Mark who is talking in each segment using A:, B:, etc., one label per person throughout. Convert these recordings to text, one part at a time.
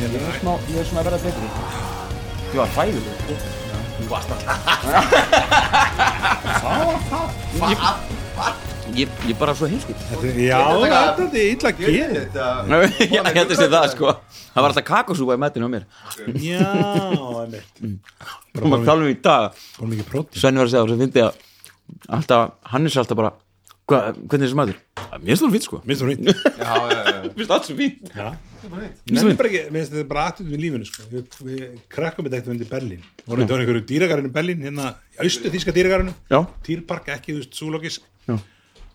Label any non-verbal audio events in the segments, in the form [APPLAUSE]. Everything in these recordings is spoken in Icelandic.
A: Ég er smá, ég er svona að verða betri.
B: Þú var hræðileg sko. Þú varst alltaf
A: Það var það.
B: Ég, ég bara svo [LAUGHS] heimskipt
A: Þetta er, já,
C: Þetta taka-
A: þetta er þetta illa
C: Gerið
A: gerið.
C: þetta
B: Já, ég hætti sér það sko Það var alltaf kakosúpa í metinu á mér
A: Já, einmitt.
B: Bara maður tala um í dag
A: Fór mikið prótín.
B: Svenni var að segja og svo fyndi ég að Alltaf, hann er sér alltaf bara hva, Hvernig er þessi maður? Að Mér finnst það fýtt sko Mér
A: Minnst þú nýtt.
C: Já, já, já, já.
B: finnst alls fýtt
A: [LAUGHS] Já.
B: Minnst
A: Mér
B: þú
A: finnst bara ekki- mér finnst þetta bara aðtönd við lífinu sko. Við, við krakkum þetta eitthvað undir Berlín. Vorum þetta á einhverju dýragarinu Berlín, hérna, austu þýska dýragarinu.
B: Já,
A: Týrpark, ekki, þú veist, súlókis.
B: Já.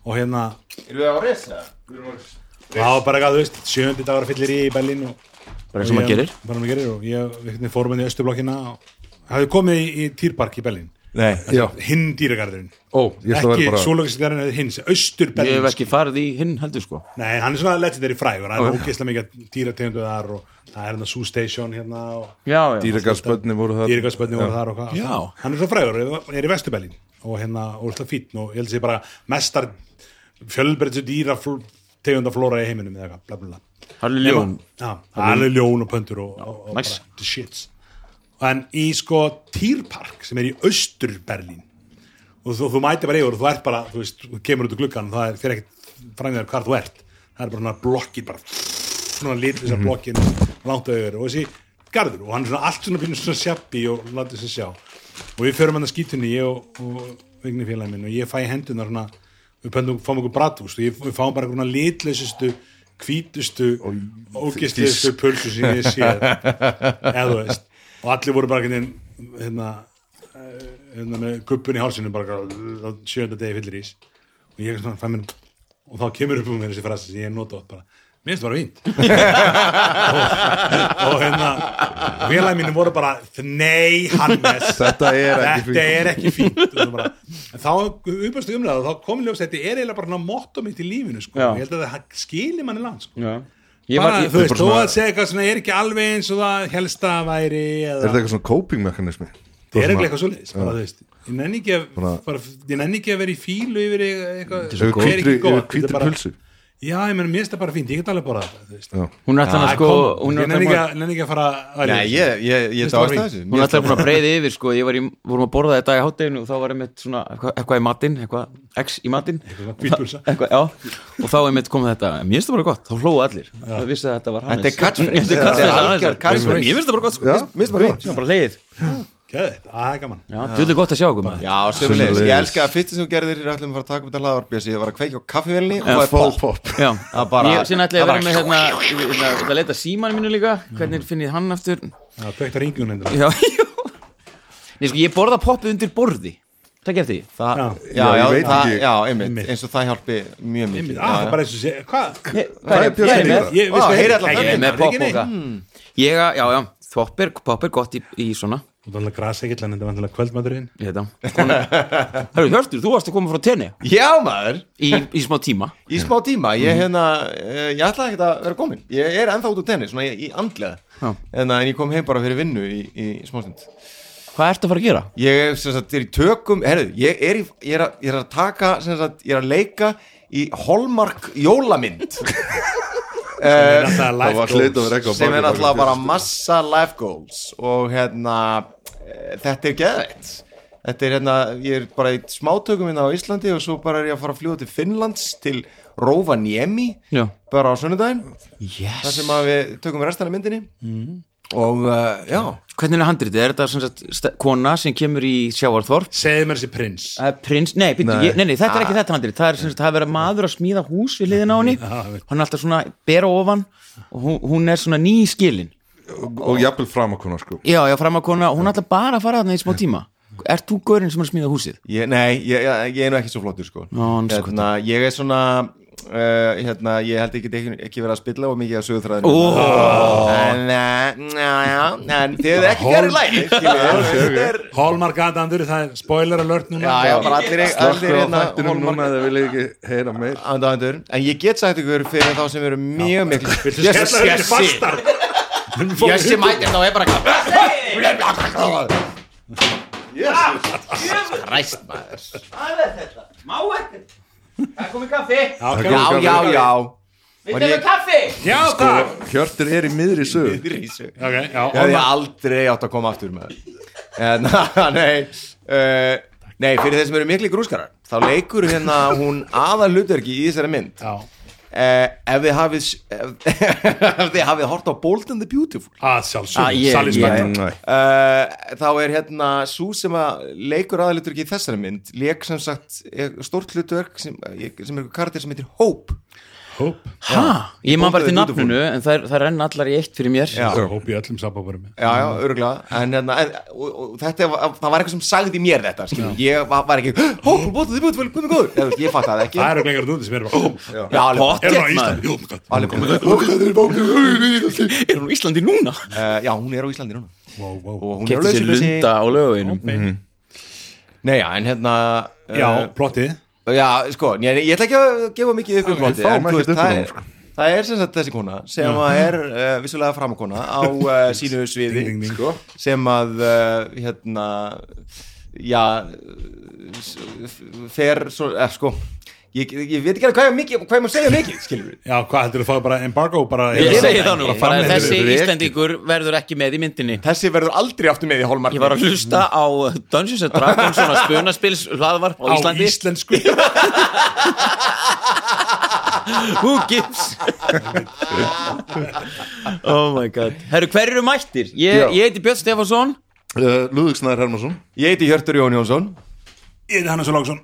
A: Og hérna,
C: Erum við á resla? Við erum á res
A: það var bara eitthvað, þú veist, sjöndi dagar fyllir í Berlín og
B: bara eins og maður
A: Ég-
B: gerir
A: bara maður gerir og ég virkni fórum henni í Östurblokkina og hafði komið í, í Týrpark í Berlín
D: Nei,
E: Já,
A: hinn dýragarðurinn
E: ó, ég ætla að
A: ekki
E: vera bara
A: Súlókisgarðurinn eða hinn, Östur
B: Ég
A: Berlín sko.
B: hef ekki farið í hinn heldur sko
A: nei, hann er svona legendary frægur það er
B: Ok.
A: ógeðslega mikið dýrategundu þar og það er hérna Zoo Station hérna og
B: Já, já
E: Dýragarðsbönni voru það
A: dýragarðsbönni voru þar og hvað
B: Já.
A: hann er svona frægur, er í Vestur Berlín og hérna, og það fítn og ég held að sé bara mestar fjölbreytsu dýra tegunda flóra í heiminum eða eitthvað, bla bla bla
B: Hann er ljón [LAUGHS]
A: Já, hann er ljón og pöndur og, og, og
B: nice.
A: bara the shits en í sko Týrpark sem er í Östur-Berlín og þú, þú mæti bara yfir og þú ert bara þú veist, þú kemur út úr gluggan og það er fyrir ekkert fræmjöður hvar þú ert það er bara svona blokkir bara svona lítið þessar blokkin langt auður og þessi garður og hann er svona allt svona pínu svona sjappi og látið sér sjá og við förum hann að skýtunni ég og, og vigni félagi minn og ég fæ hendunar svona við pöndum, fáum okkur bratúst og ég, við fáum bara einhverjum litlausustu hvítustu, ógistustu pulsu sem ég sé eða þú veist og allir voru bara einhvern veginn hérna, hérna með guppun í hálsinu bara á sjönda degi fyllir ís og ég er svona fæ mér og þá kemur upp um mér þessi frasi sem ég nota oft bara mér finnst það bara fínt og, og hérna félagi mínu voru bara nei Hannes
E: Þetta er ekki
A: þetta
E: fínt
A: er ekki fínt og það bara, en þá uppastu umlega þá komið ljóst þetta er eiginlega bara svona motto mitt í lífinu sko.
B: Já.
A: ég held að það skilir manni langt sko.
B: Já
A: bara,
B: Ég
A: þú
B: var,
A: veist, þú að segja eitthvað svona er ekki alveg eins og það helsta væri
E: Er
A: eða,
E: þetta eitthvað svona coping mekanismi?
A: það er ekki eitthvað svoleiðis bara, þú veist, ég nenni ekki að,
E: Svona-
A: bara, ég nenni ekki að vera í fílu yfir eitthvað er
E: Yfir
A: ekki
E: hvítri-
A: gott.
E: yfir hvítri
A: Þetta er bara-
E: pulsu.
A: já, ég menn, mér finnst það bara fínt, ég get alveg bara það þú veist.
E: Já.
B: hún er alltaf
A: Það
B: sko
A: kom-
B: Hún
A: ég
B: er
A: nenni
B: alltaf
A: ekki að- nenni ekki að fara að-
D: Nei, ég, ég, ég
A: Fyrst var
D: dáist
A: fínt.
D: að þessu
B: Hún
D: Mér
B: er alltaf búin að breiði yfir sko, ég var í, vorum að borða þetta í hátteginu og þá var einmitt svona eitthvað, eitthvað í matinn, eitthvað, x í matinn
A: svona hvítpulsa.
B: Og það- eitthvað, já, og þá einmitt kom þetta, en mér finnst það bara gott, þá hlóðu allir það vissi að þetta var Hannes
D: Þetta er catchphrase.
B: Þetta er catchphrase,
D: Þetta er
B: Hannes.
D: algjör catchphrase.
B: Mér finnst það bara gott, sko,
E: Já,
D: finnst bara fínt
B: Svona bara leið
A: Geðveikt, að það er gaman
B: Já, djúlega gott að sjá okkur maður.
D: Já, sömulegis,
E: Sömuleiðis.
D: ég elska að fyrst sem þú gerðir er allir að fara að taka upp þetta hlaðvarpjösi ég var að kveikja á kaffivélni og það er
E: Pop,
D: pop
E: pop
B: Já,
D: Það bara-
B: ég, síðan ætla ég að
D: það
B: vera með hérna, [LAUGHS] hérna, þetta leita síman mínu líka, hvernig finn ég hann aftur Já,
A: það kveikt að ringjum
B: [LAUGHS]
A: hendur
B: jú Nei, sko, ég borða poppið undir borði Takk eftir því
D: Það-
A: Já.
D: Já,
E: Já,
D: já,
E: ég veit
D: það-
E: ekki.
D: já, einmitt
A: Einmitt.
D: eins og það hjálpi mjög mikið
A: Ah, það
D: Já,
A: er
D: já.
A: bara eins og sé, hvað?
B: Ég-
E: Hvað
B: ég
E: er
B: er
E: pjössin í
B: með-
E: það?
A: Ég
D: Vá, heyri allan
B: Ég er
A: það
B: með poppoka Ég, að- já, já, þvopp er, popp er gott í, í svona
A: Þú er grasegill en þetta er vantilega kvöldmaturinn
B: Ég veit það Svona- Hörru, Hjörtur, þú varst að koma frá tenni
D: Já, maður,
B: í, í smá tíma
D: í smá tíma
A: Mhm.
D: Ég, hérna, eh, ég ætla ekkert að vera komin Ég er ennþá út úr tenni, svona í, í andlega
B: Já.
D: en, að- en ég kom heim bara fyrir vinnu í, í smástund
B: Hvað ertu að fara að gera?
D: Ég sem sagt, er í tökum, herðu, ég er, í, ég er, að, ég er að taka, sem sagt, ég er að leika í Hallmark jólamynd
A: Það er alltaf
E: Það
A: life
E: var hleit að
A: goals
E: vera eitthvað á
D: sem
E: baki-
D: er
E: baki-
D: náttúrulega bara
E: baki-
D: massa life goals og hérna eh, þetta er geðveitt þetta er hérna, ég er bara í smátökum hérna á Íslandi og svo bara er ég að fara að fljúa til Finnlands til Rovaniemi
B: Já.
D: bara á sunnudaginn þar
B: Yes
D: sem að við tökum restan af myndinni og uh, já
B: Hvernig er handritið? Er þetta sem sagt st- kona sem kemur í sjáarþorp?
A: Segðu mér þessi prins
B: Það er prins, nei, byrju, nei. Ég, nei, nei, þetta er ekki þetta handrið Það er sem sagt, það er verið maður að smíða hús við hliðina á henni Hann er alltaf svona bera ofan og hún, hún er svona ný í skilin
E: Og- Og jafnvel framakona sko
B: Já, já, framakona, hún er alltaf bara að fara þarna í smá tíma Ert þú gaurinn sem er að smíða húsið?
D: Ég, nei, ég, ég, ég er nú ekki svo flottur sko
B: Ó, anskotin.
D: hérna, Ég er svona uh, hérna, Ég held ekki, ekki, ekki verið að spilla og mikið að sögur þræðinu En, uh, já, já, en þið hefur ekki verið lægi Þetta er
A: Hallmark aðandur, það er spoiler alert núna
D: Já, já, bara allir allir
E: Slökkur á
D: hérna
E: þættinum núna
D: Hallmark-
E: eða vil ekki heyra meir
D: aðdáendur. En ég get sagt ykkur fyrir þá sem eru mjög miklu
A: Viltu skella þetta fastar?
D: Jössi mætir þá er bara Jössi Ræst maður
A: Já,
D: Já, já, já Var ég-
B: kaffi
A: Já, takk
E: Hjörtur er í miðri sög
D: Rísu
A: Ok, já,
D: Ég hefði aldrei átt að koma aftur með það En, [LAUGHS] nei uh, Nei, fyrir þeir sem eru mikli grúskarar Þá leikur hérna hún aðal hlutverki í þessari mynd uh,
A: já
D: Ef þið hafið s- Ef, [LAUGHS] ef þið hafið hort á Bold and the Beautiful
A: Að
B: Ah,
A: sjálfsög,
B: ég-
A: Sally Spector
E: Nei
D: Uh, þá er hérna svo sem að leikur aðalutur í þessari mynd leik sem sagt eh, stórt hlutverk sem, eh, sem er kardir sem heitir Hope
A: Hóp
B: Hæ? Ég maður bara
D: Bókaði
B: til
D: Beautiful.
B: nafninu en það, það renna allar í eitt fyrir mér
D: Já.
A: Hóp í öllum sabbaburum
D: já, já, örgulega en, en, en, og, og þetta, var- það var eitthvað sem sagði mér þetta skilur. ég var, var ekki Hope, bóttu, þið búið, hvað með góður Eða, þú veist, ég fatt það ekki
A: Það eru glengar núti sem eru bara "Ó,
D: já, alveg,
A: Er
B: Pottþétt, maður. [LAUGHS]
A: það á Íslandi? Jú, my god.
D: alveg, alveg,
B: Er hún á Íslandi núna?
D: Uh, já, hún er á Íslandi núna
A: Wow, wow.
D: og hún er á
B: Kefti sér
D: lausulösi
B: lunda á lögavinum
D: Nei, já, en hérna uh,
A: Já, plottið
D: já, sko, ég, ég ætla ekki að gefa mikið upp um
E: Við
D: plotið,
E: fáum
D: en þú
E: ekkert
D: veist,
E: upp um
D: það
E: hana,
D: er
E: sko.
D: það er sem sagt þessi kona sem að er uh, vissulega framakona á uh, sínu sviði
A: Ding, ding, ding.
D: Sko, sem að uh, hérna já s- f- fer svo, eh, sko ég, ég veit ekki alveg hvað ég mikið hvað ég má segja mikið, skilur við
A: Já, hvað heldur þú að fá bara embargo bara
B: Ég segi það nú
A: Framleiðir-
B: bara Þessi
A: Framleiðir-
B: Íslandingur verður ekki með í myndinni
D: þessi verður aldrei aftur með í Hólmar
B: Ég var að hlusta á Dungeons and Dragons svona spunaspils hlaðvarp á
A: á
B: Íslandi [LAUGHS]
A: íslensku
B: Who gives Oh my god Herru, hver eru mættir? Ég,
E: Já.
B: ég heiti Björn Stefánsson
E: Lúðvíksnæður Eh, Hermansson
D: ég heiti Hjörtur Jón Jónsson
A: Ég er Hannes Lóksson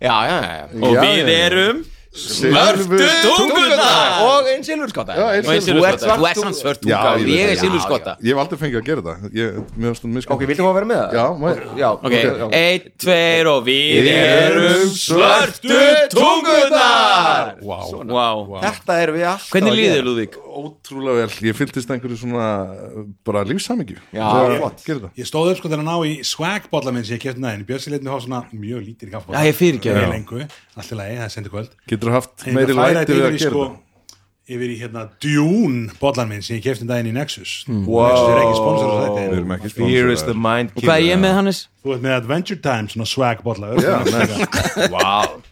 D: já, já, já, já.
B: og
E: Já,
B: við
E: já, já.
B: erum
E: Silfur-
B: Svörtu tunguna
D: og einn silfurskotta
E: Já, ein
B: Og ég
E: silfur-
B: silfurskotta. Þú ert svart svört tunga
E: Já,
B: og ég
E: ég veit
B: er
E: það.
B: silfurskotta
E: Ég hef aldrei fengið að gera það Ég, mér finnst það mjög
D: ok, viltu maður vera með það?
E: Já, maður
D: já,
B: Ok,
D: já.
B: einn, tveir og við erum
E: erum
B: svörtu tungunar
E: Vá
B: Vá,
D: Þetta erum við alltaf
B: hvernig
D: að
B: líður
D: gera.
B: Lúðvík?
E: Ótrúlega vel, ég fylgdist einhverju svona uh, bara lífsamingju
D: Já, flott.
A: Ég stóð upp sko þegar að ná í swag-bolla minn sem ég kefti næðin Björnsi leit mér hafa svona mjög lítir kaffbólla
B: Já, ég fyrirgef
A: það
B: það.
A: lengu, allt í lagi, það er sendu kvöld
E: Getur haft
A: Ég
E: meiri
A: ætla að færa
E: læti
A: þetta
E: við
A: yfir í
E: að gera
A: sko
E: það
A: yfir í hérna Dune bollan minn sem ég kefti næðin í Nexus
B: Hmm.
D: Wow.
A: Nexus er ekki sponsor á þetta
E: Við
A: en
E: erum ekki
D: Fear is the
E: sponsorar
D: mind
B: Og hvað er ég
D: killer
B: með Hannes?
A: Þú ert með Adventure Time, svona swag-bolla
E: Já,
A: öll-
E: næs.
D: [LAUGHS] Vá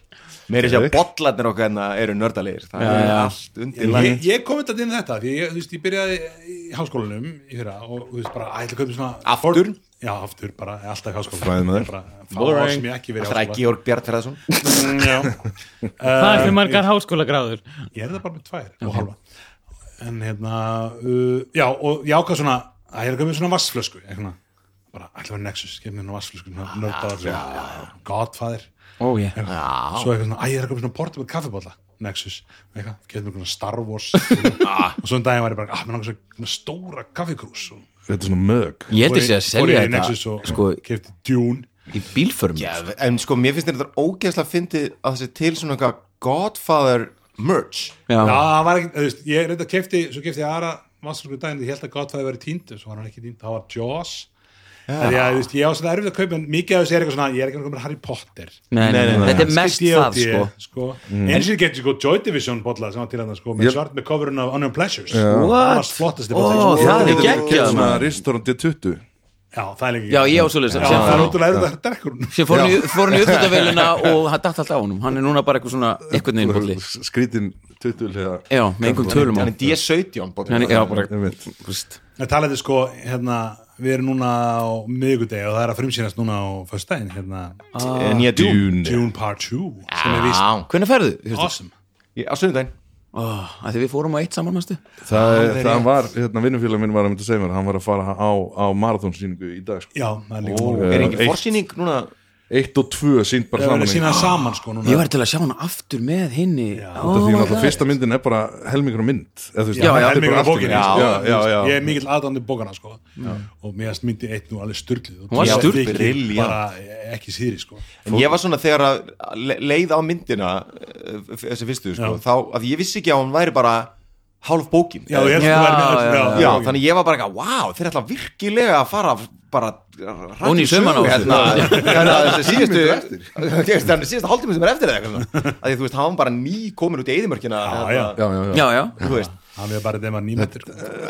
D: Mér er sér að
E: Geðveikt.
D: bollarnir okkar hérna eru nördalegir Það er allt undir
A: Ég, ég kom þetta inn þetta því ég, þú veist, ég byrjaði í háskólanum í fyrra og þú veist bara, ætla að kaupa svona
D: Aftur?
A: Já, aftur, bara alltaf í háskólanum
E: Fræði með þér.
A: Bara fá ár sem ég ekki verið í
D: Það er
A: háskóla Eh,
D: Georg Bjartfjörðarsson
A: [LAUGHS]
F: Það er fyrir margar háskólagráður
A: Ég er það bara með tvær og halva En hérna, uh, já, og ég ákvað svona að ég er að kaupa mér svona vassflösku eitthvað, bara, ætla að vera Nexus, kemur svona vassflösku svona nördaðar, svona, godfather
B: Ó, ég
A: eitthvað. svo eitthvað svona, æ, ég er að koma svona portable kaffibólla Nexus, eitthvað, getur mér svona Star Wars
B: [LAUGHS]
A: og svo en daginn var ég bara, ah, mér langar svona- svona stóra kaffikrús og
E: Þetta er svona mög
B: Ég held að sé að
A: Fór
B: selja
A: ég í Nexus
B: þetta
A: og
B: sko,
A: sko, kefti Dune
B: í bílförum
D: En sko, mér finnst þetta ógeðslega fyndið að þessi til svona eitthvað Godfather merch
A: Já,
B: Já,
A: það var ekki, þú veist, ég reynda kefti svo kefti ég aðra vatnsflösku daginn ég held að gott að það væri týnd, svo var hann ekki týnd það var Jaws Það er, þú veist, ég á svona erfið að kaupa en mikið af þessu er eitthvað svona, ég er ekki að koma með Harry Potter
B: nei, nei, nei, þetta er mest
A: Skipti ég og
B: það
A: ég,
B: sko
A: sko. eins og ég geti sko Joy Division bolla sem var til þarna sko, með svart með coverun af Unknown Pleasures Sko,
B: What?
A: það var flottasti bolli,
B: Ó,
A: sko.
B: það er
E: Getur
B: geggjað,
E: keypt svona
B: maður.
E: Restaurant í 20
A: Já, það er lengi
B: Já, ég á svoleiðis.
A: Já,
B: Já,
A: það er
B: já.
A: ótrúlega erfitt að drekka hún
B: sem fór hann í- fór hann í upptöndavélina og hann datt allt á honum hann er núna bara eitthvað svona eitthvað neynbolli
E: Skrítin 20 hliða
B: já, með einhverjum tölum á
D: Þannig D17
B: hann er
D: bollarnir
B: já, bara
E: Einmitt.
A: Það talaði sko, hérna, við erum núna á miðvikudegi og það er að frumsýnast núna á föstudaginn, hérna,
D: Eh, Nýja djún
E: Dune
A: Dune Part 2 sem er víst
D: Á
B: hvernig ferðu? Hjörtur?
A: awesome
D: Á sunnudaginn
B: Ó, að því við fórum á eitt saman næstu
E: Það er- það var, hérna vinnufélag minn var að mynda að segja mér Hann var að fara á, á marathonsýningu í dag sko.
A: Já, það er líka málum
E: Eh,
D: Er engin
E: eitt-
D: forsýning núna?
E: Eitt og tvö sínt bara
A: Það verður
E: saman
A: að
E: í-
A: sína saman sko núna
B: ég var til að sjá hana aftur með hinni Oh
E: Út af því að náttúrulega
B: já,
E: fyrsta myndin er bara helmingur á mynd eða þú veist,
B: Já,
E: þetta
B: já,
E: er
A: helmingur
E: bara
A: á
E: allt
A: bókinni,
E: í-
A: sko.
E: já, já, já,
A: Ég er mikill aðdandi bókana sko og mér erst myndi eitt nú alveg sturglið
B: Hún var sturluð,
D: brilliant.
A: bara ekki síðri sko
D: En ég var svona þegar að le- leið á myndina eh, f- þessi fyrstu, sko,
A: Já.
D: þá að ég vissi ekki að hún væri bara hálf bókin
A: Já, ég erst
B: Já,
A: að vera með öll-
B: já,
A: já,
D: Já,
A: já,
D: þannig ég var bara eitthvað, wow, þeir ætla virkilega að fara bara rætt
B: Ofan í saumana á þessu.
D: Þannig að Hérna, þessi síðustu [LAUGHS] Þú veist, Þannig að síðustu hálftími sem er eftir eða eitthvað að því þú veist, hann var bara ný komin út í eðimörkina
A: já.
E: já, já, já.
B: já, já.
D: hérna, Þú veist,
A: hann er bara þeim að sko. nýmættir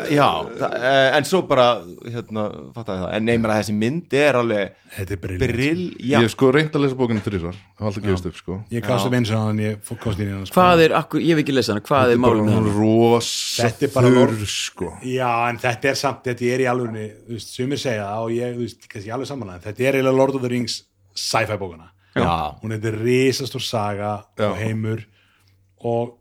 D: Já, þa- eh, en svo bara hérna, fattaði það, en neymir að þessi mynd er alveg
A: þetta er brill
D: brill,
E: Ég
D: já,
E: hef sko reynd að lesa bókinu þrísvar Það var alltaf gefist upp sko
A: ég kasta með eins og hann ég fór- komst inn í hann sko.
B: Hvað er, akkur, ég hef ekki lesað hana, hvað er málum
E: Hún
B: með
E: er
B: hana?
E: rosa
A: Þetta er bara
E: þurr
A: orð-
E: sko
A: já en þetta er samt þetta er í alveg veist, sumir segja það og ég þú veist kannski alveg samanlega þetta er eiginlega Lord of the Rings sci-fi bókana
D: já,
A: hún heitir risastór saga
E: Já.
A: og heimur og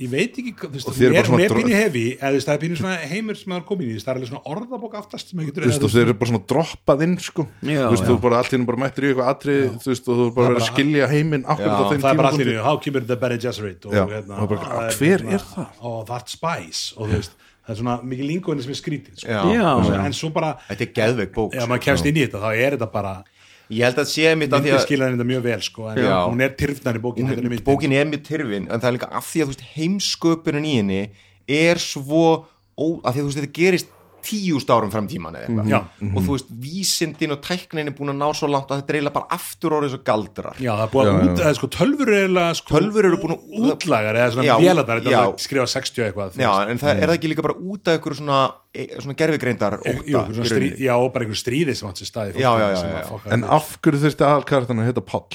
A: ég veit ekki hvað- þú veist,
E: Og þið
A: hún er,
E: eru bara
A: hún er
E: svona dro-
A: pínu hefi eða þú veist, það er pínu svona heimur sem það er komin í þú veist, það er alveg svona orðabók aftast sem maður getur
E: Þú veist, og þeir eru bara svona droppað inn sko
B: Já,
E: Þú veist,
B: já.
E: þú bara allt í hennu bara mættir í eitthvað atrið Þú veist, og þú bara
A: Það er
E: verður að
A: bara-
E: skilja heiminn Akkur
D: Já,
E: á þeim
A: það er bara
E: tímapunkti.
A: allir how kemur the Bene Gesserit og,
E: Já,
A: hérna,
E: og bara,
A: það
E: hver
A: hérna,
E: er það?
A: og það er spice og þú veist, það er svona mikið lingóinni sem er skrítið sko.
D: já,
B: Já,
A: en svo bara,
D: þetta er geðveik bók
A: ef
D: sko.
A: maður kemst inn í þetta þá er þetta bara,
D: ég held að sé mitt að því
A: myndið
D: að
A: skilja þetta mjög vel sko, en
D: Já.
A: hún er tyrfnar í bókin
D: hún, bókin er mjög tyrfin en það er líka af því að þú veist, heimsköpunin í henni er svo ó, af því að þú veist, þetta gerist tíust árum fram tíman eða eitthvað
A: Mhm. Já.
D: og þú veist, vísindin og tæknin er búin að ná svo langt að þetta er eiginlega bara aftur orðið svo galdrar
A: Já, það er búið
E: Já,
A: að
E: já,
A: út, eða sko, tölfur er eiginlega sko,
D: Tölvur eru búin að-
A: útlagar eða svona
D: Já,
A: vélarnar, þetta er
D: já.
A: alveg að skrifa 60 eitthvað þú
D: Já,
A: veist.
D: en það, er það ekki líka bara út af ykkur svona, e- svona gerfigreindar óta
A: Eh, Jú, svona
D: í
A: strí,
D: rauninni?
A: já, og bara einhver stríði sem átt sér staði
D: Já, já, já, já.
E: En af hverju þurfti aðalkartan að heita Pall?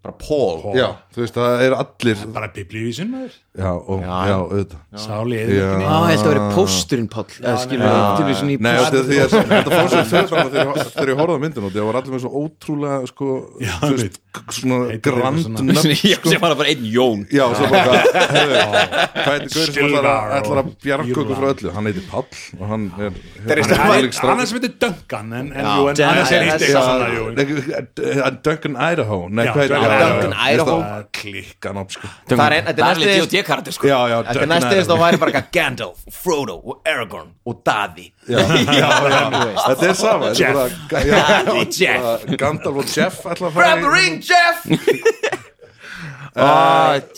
D: bara Paul
E: Já, þú veist, það er allir
A: bara biblíuvísun maður
E: Já, og, já,
D: Já.
E: auðvitað
A: sáli
E: Já.
A: eða
B: Á, ég held að vera pósturinn, Páll eða skilur við, til við svona í
E: Nei,
B: póst-
E: þetta því að þetta fór svo fyrir fram að þegar ég- þegar ég horfði á myndin út, það var allir með svo ótrúlega sko,
A: Já,
E: þú veist, k- svona
A: Heitir
E: grand
A: eitthvað svona-
E: nöfn
B: [LAUGHS] Já, sem var það bara einn Jón
E: Já, og svo bara, heyrðu, hvað heitir Gaur sem ætlar að,
A: Skilvar og
E: ætlar að bjarga okkur frá
A: Írland.
E: öllu? Hann heitir Pall og hann er
D: er
E: hann
D: stærri-
E: ólík strákur.
A: annars veitir Duncan en, en, jú, en
B: Duncan,
A: annars er
B: þetta
A: eitt
B: er
A: eitthvað svona jú.
E: Nei, eh, Duncan Idaho Nei,
A: Já,
E: hvað heitir
A: Duncan
E: Já, já,
D: Duncan
E: já.
D: Idaho.
E: Mér finnst það Klikkan upp, sko
D: Það er ein- þetta er næstu eins-
B: D.O.D.-kartir sko
E: Já, já,
D: Þetta er næstu eins og væri bara eitthvað Gandalf, og Frodo og Aragorn og Daði
E: Þetta er sama þetta er bara-
A: Oh,
E: já,
D: Jeff.
E: bara Gandalf og Jeff ætla að fara
D: Grab the ring, Jeff!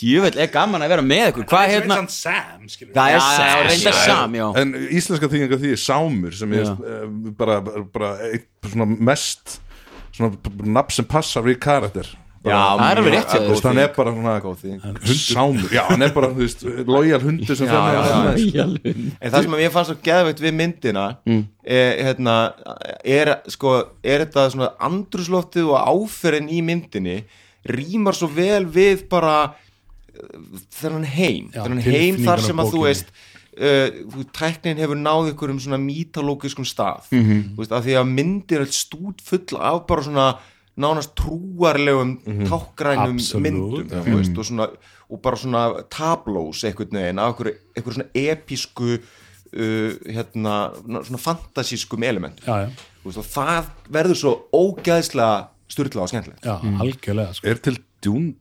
B: Jöfell, er gaman að vera með ykkur Hvað
A: Sveinsson
B: hérna
A: Sam, skilur við.
B: Það er sam, reynda sam, já
E: En íslenska þýðing af því er sámur sem ég
B: Já.
E: veist eh, bara, bara, bara eitt svona mest svona b- b- nafn sem passar við karakter
D: Já,
B: Það er alveg rétt hjá
E: Þú veist,
B: þér. sko.
E: hann er bara svona
D: þýðing.
E: hundur, sámur, já, hann er bara, þú veist, lojal hundur sem fer með
D: já,
E: hann.
D: En það sem ég fannst svo geðveikt við myndina er, hérna, er, sko, er þetta svona andrusloftið og áferðin í myndinni rýmar svo vel við bara eh, þennan heim
A: Já,
D: þennan heim þar sem að þú
A: tilfinningunum
D: veist uh, tæknin hefur náð ykkur um svona mítalógiskum stað þú veist, af því að myndir er stút full af bara svona nánast trúarlegum tákgrænum
A: Absolutt.
D: myndum þú
A: Mm.
D: veist, og, svona, og bara svona tablós einhvern veginn af einhverju einhverju svona episku uh, hérna, ná- svona fantasískum elementum
A: já, já,
D: Þú veist, og það verður svo ógæðslega styrla og skemmtilegt
A: já, algjörlega sko.
E: Er til Dune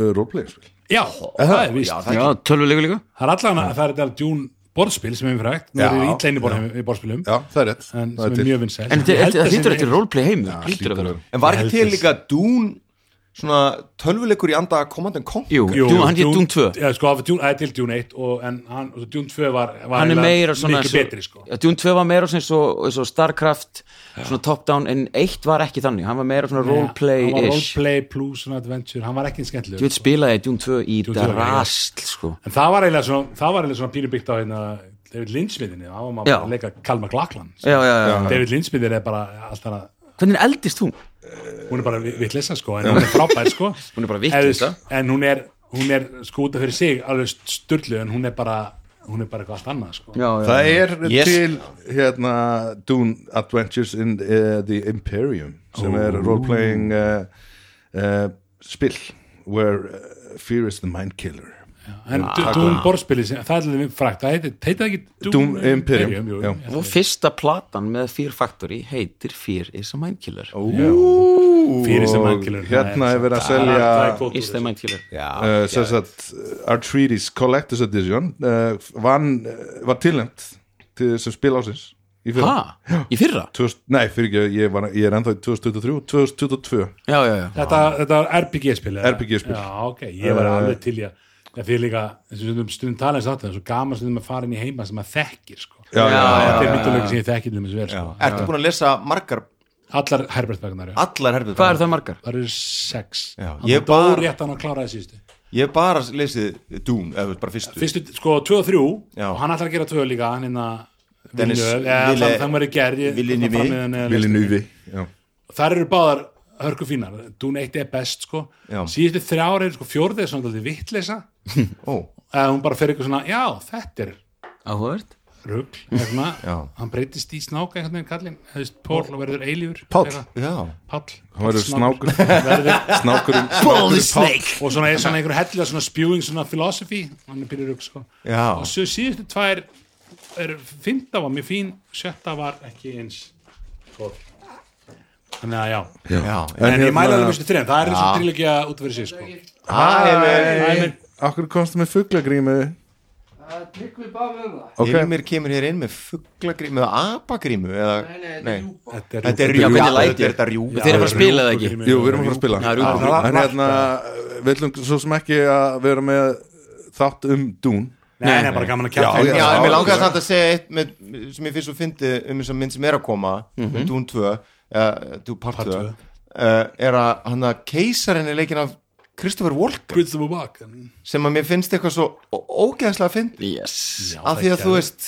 E: uh, roleplayerspil?
A: já, það er víst
D: Já, það
B: Já, tölvulegu líka
A: það er allan að það er þetta djún borðspil sem er umfrækt, nú
E: Já,
A: eru ítlein í, borð, í borðspilum
E: Já, það er rétt
A: en
E: það
A: sem
E: til.
A: er mjög vinsæl
B: En þetta- þetta þetta hlýtur eftir roleplay heimur Hlýtur að
E: Hlýtur að
B: vera
E: vera.
D: en var
A: Ég held
D: ekki til
A: þess.
D: líka dún svona tölvuleikur í anda Command and Conquer
B: Jú, Dune- hann hétt Dune 2
A: já, sko, það er til Dune 1 og, en hann, og Dune 2 var, var
B: hann er
A: eiginlega
B: meira svona
A: mikið
B: eins og-
A: betri sko.
B: Já, Dune 2 var meira svona eins og, eins og Starcraft svona top down, en eitt var ekki þannig hann var meira svona
A: hann var
B: roleplay-ish
A: roleplay plus svona adventure, hann var ekki
B: Þú
A: skemmtilegur
B: veit spilaði ég Dune 2 í
A: Dune 2 var ekki-
B: drasl sko.
A: en það var eiginlega svona, það var eiginlega svona pínu byggt á hérna, David Lynchmiðinni, það var maður
B: Já.
A: bara að leika Kalmar Glaklan
B: já, já, já.
A: David Lynchmiðin er bara alltaf að
B: Hvernig eldist þú?
A: hún er bara vittlisa sko en hún er frábær
E: [LAUGHS]
A: sko
B: Hún er bara vitleysa.
A: Eða- en hún er, hún er sko út af fyrir sig alveg styrlu en hún er bara hún er bara eitthvað allt annað sko
B: Já, já.
E: Það er
D: Yes.
E: til hérna, Dune Adventures in uh, the Imperium sem er role-playing uh, uh, spill where uh, fear is the mind killer
A: en ja, Dún Borspili, það er alveg frækt það heitir heita ekki
E: Dune Imperium,
A: jú,
E: já.
A: já.
B: Og fyrsta platan með Fear Factory heitir Fear is a Mindkiller
A: Fear is the mind
E: Og
A: killer,
E: hérna
A: það er
E: er verið að
A: Það
E: selja
A: það er góð
B: Is the Mindkiller
D: já,
E: uh, sem sagt, uh, Artreaties Collectors Edition uh, vann, uh, var tilnæmt til sem spil ásins í fyrra
B: Hæ? Í fyrra?
E: 2000, nei, fyrir ekki, ég, var, ég er ennþá í 2023 2022
B: Já, já, já
A: þetta, þetta er RPG spil eða?
E: RPG spil.
A: já ok, ég var
E: Eh.
A: alveg til í að það fyrir líka, eins og stundum stundum tala eins og það er svo gaman stundum að fara inn í heima sem maður þekkir sko
E: Já, já,
A: þetta er myndalöku sem ég þekkir um þessu vel sko
D: ertu búin að lesa margar
A: allar Herbert Bagnar
D: allar herfið
B: Hvað eru það margar?
A: það eru sex
D: Já,
A: hann
D: ég
A: dó
D: bara-
A: rétt hann að klára þessi
D: Ég hef bara lesið Dune, eða bara fyrstu
A: fyrstu, sko, 2 og 3
D: Já.
A: og hann ætlar að gera 2 líka hann hérna
D: Dennis
A: Villeneuve, eða
D: Ville-
A: þann- þann verið gerð ég-
D: Villeneuve.
A: þarna frammiðan eða
E: Vili
A: listin.
E: Núvi Já
A: þar eru báðar hörku fínar Dún 1 er best sko
D: Já.
A: síðustu þrjár er sko fjórðið er svona vittleysa
D: Ó,
A: að hún bara fer eitthvað svona, já, þetta er
B: Áhugavert
A: rugl, eitthvað
D: Já.
A: hann breytist í snák einhvern veginn kallinn þú veist, Pól og verður eilífur
E: Páll.
A: Eitthvað.
D: já
A: Páll,
E: Hann verður
A: Snákur.
E: snákur
A: verður
E: Snákurinn
B: Holy
A: Páll. og svona er svona einhver hellilega svona spewing svona philosophy, hann er byrjur rugl sko
D: Já.
A: og svo síðustu tvær er, fymta var mjög fín, sjötta var ekki eins góð þannig að já,
D: Já,
A: en,
E: En
A: ég
E: hérna-
A: mæla alveg fyrstu þrejum, það er svona trillegja út fyrir sig sko
E: Æ, okkur komstu með fuglagrímu
G: Það er tryggvið bara um það.
E: Ok,
D: Ilmir kemur hér inn með fuglagrímu eða apagrímu eða...
G: Nei, nei, þetta er
A: þetta
D: Þetta
G: ljúpa.
B: Já,
D: er rjúpa,
B: hvernig
D: þetta
B: læt ég?
D: er þetta rjúpa
B: Þeir eru bara að spila það ekki
E: jú, við erum að fara að spila
B: Já, rjúpa.
E: En hérna, við ætlum svo sem ekki að vera með þátt um dún
A: Nei, nei, bara gaman að
E: Já,
A: kjáta
E: já.
D: Já, en mér
E: já.
D: langaði samt að segja eitt með, sem ég finnst svo fyndi um þess að mynd sem er að koma um Dún 2, eða Dún Part 2 uh, er að hann að keisarinn er leikinn af Christopher Walker
A: Christopher Walken
D: sem að mér finnst eitthvað svo ó- ógeðslega fyndi
B: Yes
D: af því að þú veist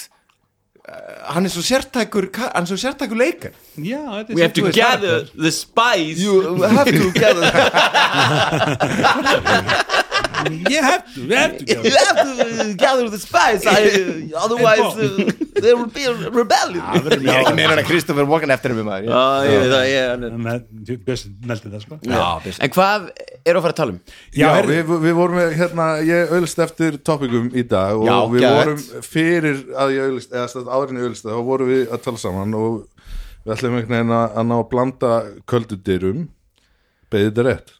D: uh, hann er svo sértækur ka- hann er svo sértækur leikar
A: Já, þetta er
B: We have to
A: svolítið-
B: gather the spice
D: You have to get it
A: [LAUGHS] Ég hef to, we have to gather.
B: have to gather the spice I, uh,
A: otherwise,
B: there will be a rebellion
A: Það verður
D: [LAUGHS] Ég er ekki
A: mjög
D: meira en að Christopher Walken eftir mér maður ég-
B: Já, ég veit það, ég hann er
A: Bjössi neldi það sko
B: Já, en hvað eru að fara að tala um?
E: Já,
A: Já, heyrðu,
E: við, við vorum með, hérna, ég öllst eftir topikum í dag og
D: Já,
E: við
D: geðveikt.
E: vorum fyrir að ég öllst, eða stöð áðurinn ég öllst þá vorum við að tala saman og við ætlum einhvern veginn að, að ná að blanda köldudyrum beðið þetta rétt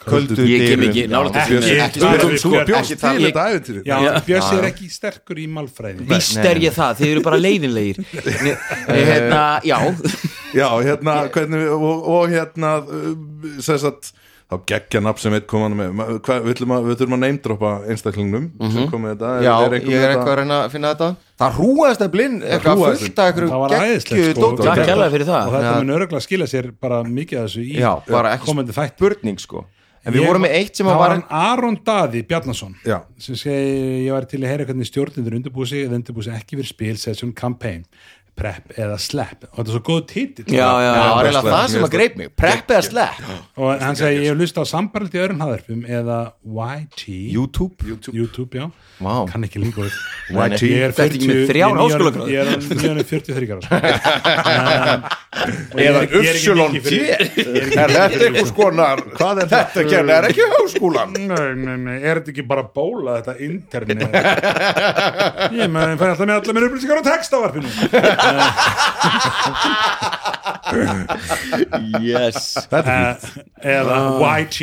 D: Köldu
B: Ég kem
D: dyrum.
B: ekki nálægt
D: Já.
B: þessu.
E: Bjössi,
A: Ekki-
E: þú-
A: ekki-
E: þú- þú
A: ekki-
E: bjóst
B: ekki-
E: til
B: ég-
E: þetta æfintýri
A: Já, Bjössi er ekki sterkur í málfræði
B: Víst er ég það, þið eru bara leiðinlegir Nei, Hérna, já
E: Já, hérna, hvernig, við- og, og hérna sess að þá geggja nafn sem eitt komaðan með Ma- hvað, við ætlum að, við þurfum að neymdropa einstaklingnum sem kom með þetta
D: Mhm. Já,
E: er, er
D: ég er eitthvað að reyna að finna þetta Það hrúaðist að blinn eitthvað
E: hrúgaðist
D: fullt að
A: Það var
D: eitthvað
A: aðeinslegt sko
E: dóti.
A: og
B: Takk
A: þetta-
B: hérlega fyrir
A: Og
B: það
A: þetta
D: Já.
A: mun örgulega skila sér bara mikið af þessu í eh,
D: Já, bara ekki
A: komandi þætt
D: spurning sko En við
A: Ég-
D: vorum með eitt sem
A: Það
D: að
A: var
D: var
A: hann Aron Daði Bjarnason
E: Já.
A: sem segi ég var til að heyra hvernig stjórnindur undirbúið sig eða undirbúið sig ekki fyrir spil session campaign prep eða slap og þetta er svo góð titill
B: Já, já,
D: Já, það var
E: bara
D: eiginlega
E: slepp,
D: það sem
E: mjög
D: að greip mig Prepp eða slepp
A: og hann segi ég hef hlust á sambarald í öðrum haðarfum eða YT
D: YouTube
A: YouTube, YouTube já,
D: Vá.
A: kann ekki lengur orð.
D: [LAUGHS] Nei, nei.
A: ég er
B: Þetta er
A: 40
B: ekki með þrjár
A: ég er nýorðin-
B: háskólagráður.
A: ég er orðinn- ég er orðinn
D: [LAUGHS]
A: 43 ára sko. um,
D: Eða Upsilon T Er þetta eitthvað skonar Hvað er þetta gerð? Er ekki háskúlan?
A: Nei, nei, nei, er þetta ekki bara bóla þetta internet? Ég meðan fæði alltaf með allar mér upplýsingar á textavarpinu.
B: Yes
A: Eh, eða YT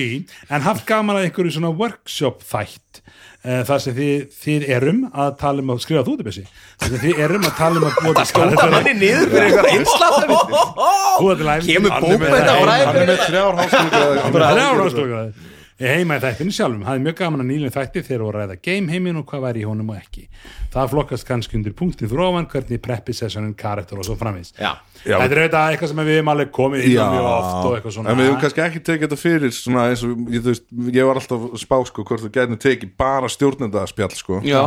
A: en haft gaman að einhverju svona workshop þætt eh, þar sem þið, þið erum að tala um að skrifa þú þetta Bessi þar sem þið erum að tala um að búa til
D: Það
A: karakter
D: manni niður fyrir eitthvað einslátt
A: búa til æfing Hann
D: Kemur
A: er með-
D: bókmennta-
A: Nei,
E: hann er með þrjár háskóla
A: bara þrjár ástofugræði heima í þættinu sjálfum, hafði mjög gaman að nýlum þætti þegar voru að ræða gameheimin og hvað væri í honum og ekki það flokkast kannski undir punktin þrófan hvernig preppi sessionin karakter og svo framvins
D: Já.
E: Já.
A: þetta er auðvitað eitthvað sem við hefum alveg komið í mjög oft og eitthvað svona
E: en við hefum kannski ekki tekið þetta fyrir svona eins og, ég, þú veist, ég var alltaf að spá sko hvort þú gætnum tekið bara stjórnendaspjall sko,
B: Já,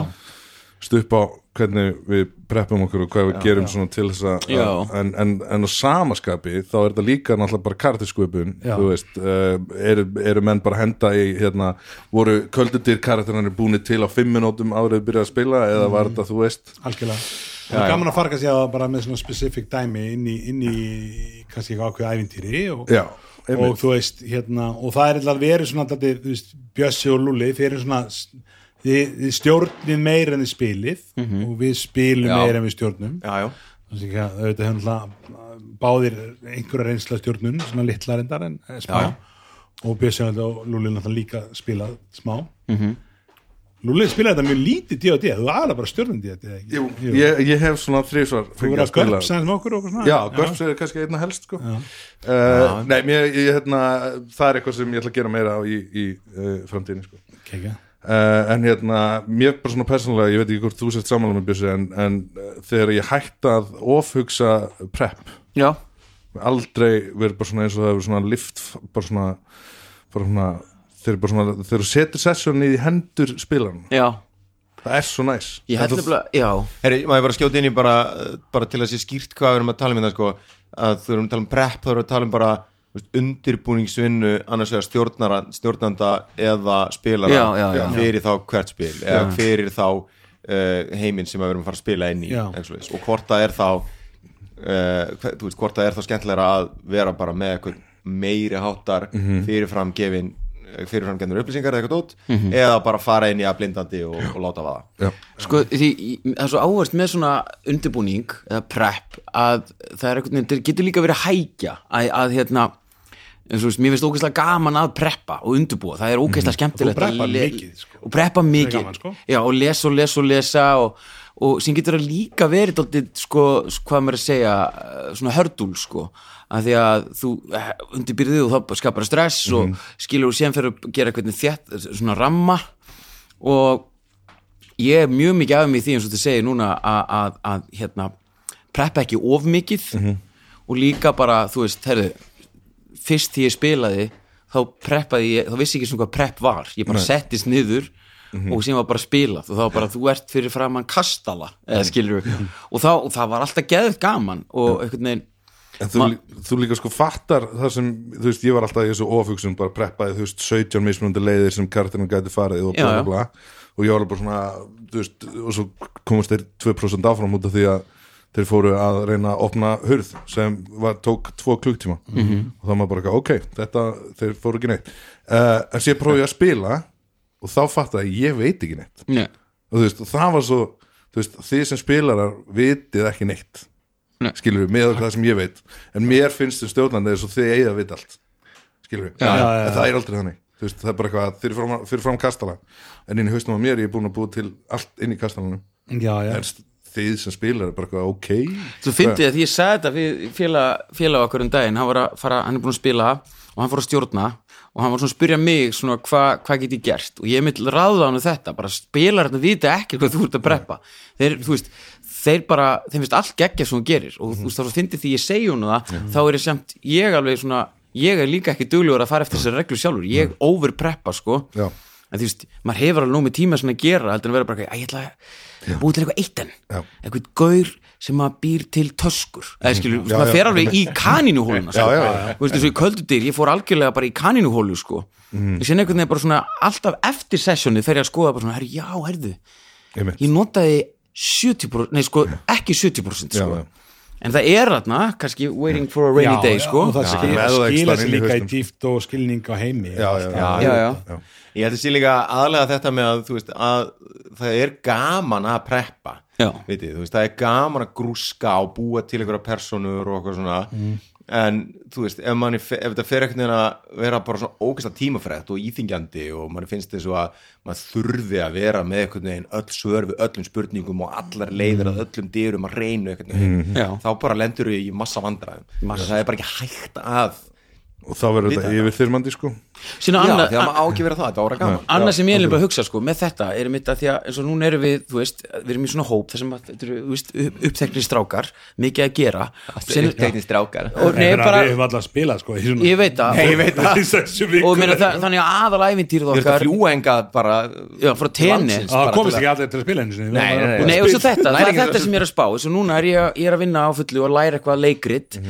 E: stupp á hvernig við preppum okkur og hvað við gerum svona til þess að,
B: Já.
E: en, en, en á samaskapi þá er þetta líka náttúrulega bara kartisköpun,
A: Já.
E: þú veist uh, eru, eru menn bara að henda í hérna, voru köldutir karakterinn búinir til á fimm minútum árið byrjað að spila eða
A: Mm.
E: var þetta, þú veist
A: algjörlega það er gaman að farga sér bara með svona specific dæmi inn í, inn í kannski eitthvað ákveð ævintýri og,
E: Já, einmitt.
A: og þú veist hérna, og það er alltaf verið svona dálítið, þú veist, Bjössi og Lulli, þeir eru svona þið, þið stjórnið meir en þið spilið
E: Mhm.
A: og við spilum meir en við stjórnum
D: Já, já
A: þannig að auðvitað hefum alltaf báðir einhverja reynsla stjórnun svona litla reyndar en eh, smá og Bjössi og Lulli- og Lulli náttúrulega líka spilað smá
E: Mhm.
A: Lulli spilaði þetta mjög lítið D&D, þú var aðalega bara stjórnum D&D eða ekki? Jú.
E: ég, ég hef svona þrísvar
A: Þú verður að görp sæðins með okkur og okkur svona
E: Já, Gorps er kannski einna helst sko. uh, Nei, mér, ég, hérna, það er eitthvað sem ég ætla að gera meira á í, í uh, framtíðinni sko.
A: Kekja.
E: uh, En hérna, mér bara svona persónulega ég veit ekki hvort þú sért sammála með bjössi en, en uh, þegar ég hætti að ofhugsa prep,
B: já
E: aldrei verið bara svona eins og það hefur svona lift, bara svona, bara svona þeir eru bara svona, þegar þú setur session í hendur spilan,
B: já,
E: það er svo næs
B: ég held nefnilega, já
D: Herri, maður bara skjóti inn í bara, bara til að sé skýrt hvað við erum að tala um þetta sko, að þú erum að tala um prep, þú erum að tala um bara þú veist, undirbúningsvinnu annars vegar stjórnara, stjórnanda eða spilara
B: Já, já, já.
D: fyrir þá hvert spil eða fyrir þá uh, heiminn sem við erum að fara að spila inn í
A: Já.
D: eins og þess. Og hvort það er þá uh, hve- þú veist, hvort það er þá skemmtilega að vera bara með eitthvað meiri háttar
B: Mhm.
D: fyrirfram gefin fyrirfram gefnir upplýsingar eða eitthvað dót
B: Mhm.
D: eða bara fara inn í að blindandi og, og láta vaða
B: sko, því, í- það er svo áhverst með svona undirbúning eða prep að það er eitthvað, það getur líka verið að hækja að, að hérna eins og þú veist, mér finnst ógeðslega gaman að preppa og undirbúa, það er ógeðslega skemmtilegt að
A: Og preppa
B: le-
A: mikið, sko.
B: og preppa mikið
A: gaman, sko.
B: já, og lesa og lesa og lesa og, og sem getur að líka verið daldið, sko, hvað maður að segja eh, svona hördul, sko að því að þú undirbyrðið og þá skapar stress
A: Mhm.
B: og skilur og séðan fyrir að gera hvernig þétt, svona ramma og ég er mjög mikið af mig í því eins og þú segir núna að, að, að hérna, preppa ekki of mikið
A: Mhm.
B: og líka bara, þú veist, herðu fyrst því ég spilaði þá preppaði ég, þá vissi ég ekki svona hvað prepp var ég bara settist niður og sem var bara spilað og þá var bara þú ert fyrir framann kastala, eða skilur og, þá, og það var alltaf geðið gaman og einhvern veginn
E: En þú, lí- þú líka sko fattar það sem, þú veist, ég var alltaf í þessu ofugsun bara preppaði, þú veist, 17 mismunandi leiðir sem karakterinn gæti farið og
B: Já,
E: bla
B: já.
E: bla bla og ég var alveg bara svona, þú veist og svo komast þeir 2% áfram út af því að þeir fóru að reyna að opna hurð sem var, tók tvo klukktíma -hmm.
B: Mhm.
E: og þá var maður bara, eitthvað, ok, þetta þeir fóru ekki neitt uh, en sér prófið að spila og þá fattaði ég, ég veit ekki neitt
B: Nei,
E: og þú veist, og það var svo þú veist, þið sem spilarar vitið ekki neitt
B: Nei.
E: skilur við, með það sem ég veit en mér finnst þið stjórnandi eins og þið eigið að vita allt skilur við,
A: já, já.
E: en það er aldrei þannig þú veist, það er bara eitthvað, þið eru fram, fyrir fram kastala en inn í haustum á mér, ég er búin að búa til allt inn í kastalanum,
A: já, já,
E: en st- þið sem spilarar er bara eitthvað, ok
B: Svo fyndið að því ég sagði þetta við félag, félag okkur um daginn, hann, var að fara, hann er búin að spila og hann fór að stjórna og hann var svona að spyrja mig svona hva, hvað get ég gert og ég mitt ráða hann um þetta, bara spilar þetta vita ekki hvað þú ert að preppa þeir, þú veist, þeir bara, þeim finnst allt geggja sem hún gerir og þú veist þá fyndið því ég segi hún það, þá er ég semt, ég alveg svona ég er líka ekki duglegur að fara eftir þessari reglu sjálfur ég over preppa sko
E: Já.
B: en þú veist, maður hefur alveg nóg með tíma sem að gera heldur en að vera bara, eitthvað, "Æ, ég ætla að búið til eitthvað eitt enn,
E: Já.
B: eitthvað gaur sem að býr til töskur eða skilur, já,
E: já.
B: maður fer alveg í kanínuhóluna sko.
E: Já, já, já.
B: Þú veist, eins og í köldudýr, ég fór algjörlega bara í kanínuhólu sko, mm. ég sinni einhvern veginn bara svona alltaf eftir sessjónið fer ég að skoða bara svona, herri, já, herðu,
E: Einmitt.
B: ég notaði 70%, nei sko, ekki 70% sko,
E: Já, já.
B: en það er þarna kannski waiting for a rainy
A: Já,
B: day
A: já,
B: sko,
A: og það skil-
E: Já,
A: skila
E: meðvextar
A: sér
E: inn í
A: líka í
E: hausnum.
A: dýft og skilning á heimi
E: já, já, já,
B: já, já.
D: Ég held að sé líka aðlega þetta með að, þú veist, að það er gaman að preppa
B: Já.
D: vitið, þú veist, það er gaman að grúska og búa til einhverja personur og eitthvað svona en þú veist, ef, manni, fe- ef þetta fer ekkert neina að vera bara svona ógæsta tímafrætt og íþingjandi og manni finnst þess að maður þurfi að vera með einhvern veginn öll svör við öllum spurningum og allar leiðir að öllum dyrum að reynu einhvern veginn,
B: Mhm. Já.
D: þá bara lendur við í massa vandræðum það er bara ekki hægt að
E: og þá verður þetta
D: Vita.
E: yfirþyrmandi sko
B: Sýna
D: Já,
B: annað-
D: því að maður á ekki að vera það, þetta ára gaman
B: annað sem ég er bara að hugsa sko, með þetta er mitt að því að eins og núna erum við, þú veist, við erum í svona hóp þar sem að, þetta eru, þú veist, upp- uppteknir strákar mikið að gera Sem-
D: Teknist drákar
B: og
A: Nei,
B: nei,
A: bara, við
B: bara,
A: höfum alltaf spilað sko,
B: ég veit það og,
A: veit það
B: og meina, það, þannig að aðalæfintýrið
D: Þú ert að
B: okkar
D: fljúa engað bara
B: já, frá tenni
D: Landsins.
A: það
D: bara
A: komist
D: til
A: ekki allir til að spila einu sinni
D: Nei, nei, nei.
B: Nei, og svo þetta, það
D: Læra
B: er
D: ekki
B: þetta
D: þessu.
B: sem ég er að spá þess að núna er ég, ég er að vinna á fullu og læra eitthvað leikrit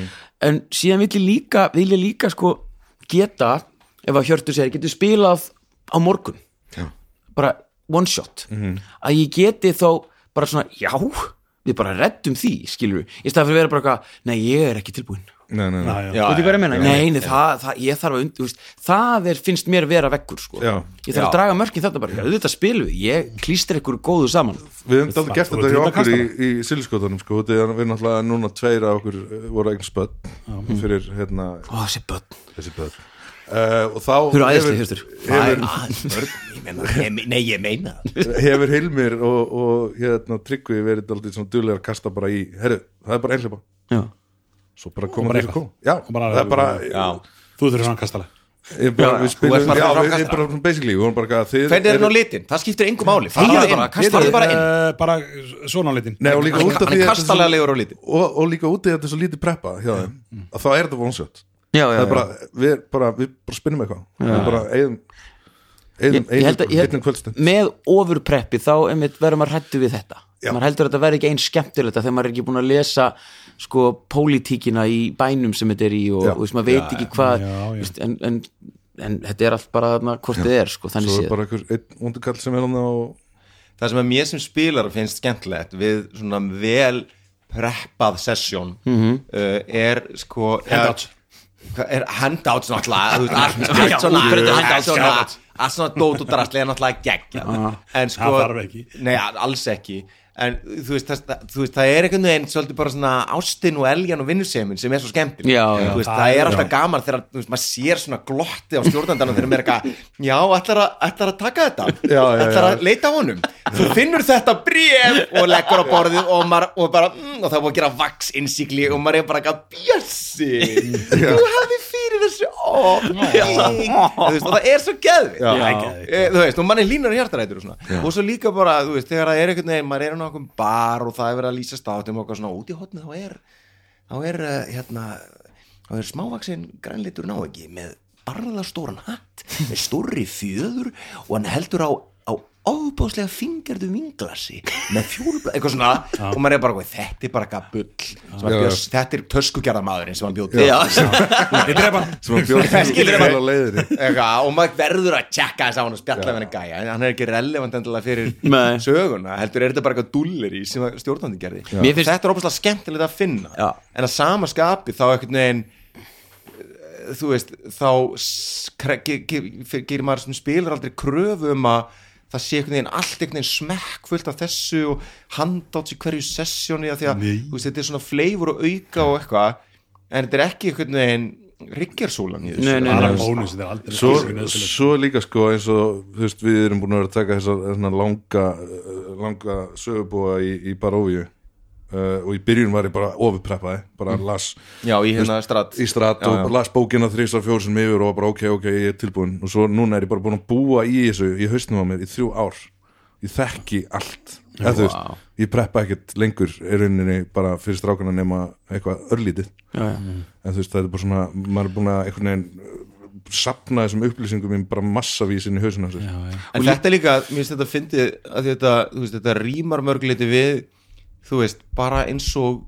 B: en síðan vil ég líka, vil ég líka sko geta, ef að hjörtu sér getur spilað á morgun já. Mhm. bara one shot að ég geti þá bara svona já, við bara reddum því skilur við, í stað fyrir að vera bara eitthvað nei, ég er ekki tilbúin
E: nei, nei, nei.
A: Já, já.
D: Já,
F: Veitu hvað ég meina?
B: Nei, nei, það, það, ég þarf að undir, veist, það er, finnst mér vera vekkur sko.
E: Já.
B: ég þarf að
D: Já.
B: draga mörkin þetta bara, þetta spilum við ég klýstir ykkur góðu saman
E: Við höfum aldrei gert
A: Þú ert
E: þetta hjá
A: út að
E: okkur í,
A: kasta
E: í siliskotunum sko, því að við náttúrulega núna tveir af okkur eh, voru eigin spöld fyrir hérna
B: Ó, þessi börn
E: þessi börn uh, og
B: Þau
E: þá
B: eru æðisleg,
E: hefur,
B: Hjörtur.
E: hefur,
D: Ég meina, ég me- Nei, ég meina það.
E: hefur Hilmir og, og hérna, Tryggvi verið aldrei svona duðlega að kasta bara í herru, það er bara einhleipa
B: Já.
E: svo bara koma
A: bara
E: þeir að
A: eitthvað.
E: koma já,
A: bara-
E: það er bara,
A: þú þurfir svona kastala
E: ég bara við
D: ert
E: spilum,
D: bara
E: já,
D: frá
E: við
D: kastara.
E: erum bara basically, við vorum bara eitthvað að þið
D: Hvernig er nú
E: eruð-
D: litin? Það skiptir engum máli Farðu
B: Þýðir
D: bara
B: bara,
D: inn.
B: kastaðu
D: Farðu bara inn
A: Eh, bara svona á litin
E: Nei, og líka
D: Hann-
E: út af
D: hann
E: því að þetta
D: er
E: er
D: kastalega
E: svo-
D: legur og litin
E: og, og líka út í að þetta er svo lítið preppa hjá þeim að þá er þetta vonsjött
B: Já, já,
E: það er
B: já.
E: bara, við bara, við bara spinnum eitthvað við bara eigum eðum,
B: Ég- ég held að- ég held-
E: eðum kvöldstund
B: með ofurpreppi þá einmitt verður maður hættu við þetta
E: Já.
B: maður heldur að þetta verður ekki eins skemmtilegt að þegar maður er ekki búin að lesa sko pólitíkina í bænum sem þetta er í og,
E: Já.
B: og veist, maður veit ekki hvað
A: já, já.
B: veist, en, en, en þetta er allt bara þarna hvort þið er sko, þannig
E: svo er
B: séð
E: bara einhver einn vondukall sem er hann
B: [LAUGHS]
E: og
D: það sem að mér sem spilar finnst skemmtilegt við svona vel preppað sesjón uh, er sko
A: Handouts.
D: er, er handouts náttúrulega þú veist, allt,
B: já,
D: allt svona
B: útbreiddu handouts.
D: allt svona- allt svona dót og drastlega náttúrulega geggja en sko
A: Það þarf ekki.
D: nei, alls ekki en þú veist, það, það- þú veist, það er einhvern veginn svolítið bara svona ástin og eljan og vinnusemin sem er svo skemmtileg
B: Já,
D: Þú
B: já.
D: veist, það er alltaf gaman þegar þú veist, maður sér svona glotti á stjórnandanum þegar maður er eitthvað, já, ætlar að, ætlar að taka þetta
E: Já, já,
D: ætlar
E: já.
D: að leita á honum þú finnur þetta bréf og leggur á borðið og, maður, og bara mm, og það er búið að gera vaks innsikli og maður er bara eitthvað bjössi þú hafði fyrir þessu ó, nei. Þú veist, og það er svo geðvitt
E: Já.
D: Eh, þú veist, og manni línar hjartarætur og svona og svo líka bara, þú veist, þegar það er einhvern veginn maður er á nákvæm bar og það er verið að lýsa státum og eitthvað svona út í hotni, þá er þá er, eh, hérna þá er smávaksin grænleitur ná ekki með barðastóran hatt með stórri fjöður og hann heldur á á ofbáslega fingerdu vinglasi með fjólblá, eitthvað svona og maður er bara, "Guð, þetta er bara eitthvað bull sem að
E: Já.
D: björs, þetta er töskugerðamaðurinn sem hann bjóð til
A: Ég drepa hann.
E: sem að bjóða
D: Skilur
E: til að leiðir
D: Eitthvað, og maður verður að tjekka þess að hann og spjalla við henni gæja, en hann er ekki relevant endilega fyrir
B: Nei.
D: söguna, heldur er þetta bara eitthvað dullir í sem að stjórnandi gerði
B: Mér finnst-
D: þetta er opaslega skemmtilegt að finna
B: Já.
D: en að sama skapi þá einhvern veginn eh, þú veist, þá s- kre- ge- ge- fer- gerir maður sem spilar aldrei kröfu um að það sé einhvern veginn allt einhvern veginn smekk fullt af þessu og handátt í hverju sessjóni að því að þú veist, þetta er svona fleifur og auka og eitthvað en þetta er ekki einhvern veginn ryggjarsúlan í þessu
B: Nei, nei, nei.
A: Bara bónus, þetta er aldrei
E: svo,
A: ekki nauðsynlegt.
E: svo líka sko eins og þú veist við erum búin að vera að taka þessa, þessa langa, eh, langa sögubúa í, í Baróvíu uh, og í byrjun var ég bara ofurpreppaði bara
B: Mm.
E: las
D: Já, í hérna stratt
E: í strat og
D: Já, já.
E: las bókina þrísar fjórsum yfir og var bara ok, ok, ég er tilbúin og svo núna er ég bara búin að búa í þessu í haustnum á mér í þrjú ár ég þekki allt Eða, þú veist, ég preppa ekkert lengur í rauninni bara fyrir strákana nema eitthvað örlítið
B: Já, já.
E: en þú veist það er bara svona maður er búin að einhvern veginn uh, sapna þessum upplýsingum í bara massavís inn í hausinu á sér
D: En þetta er líka, mér finnst þetta fyndið að því þetta, þú veist, þetta rýmar mörguleiti við þú veist, bara eins og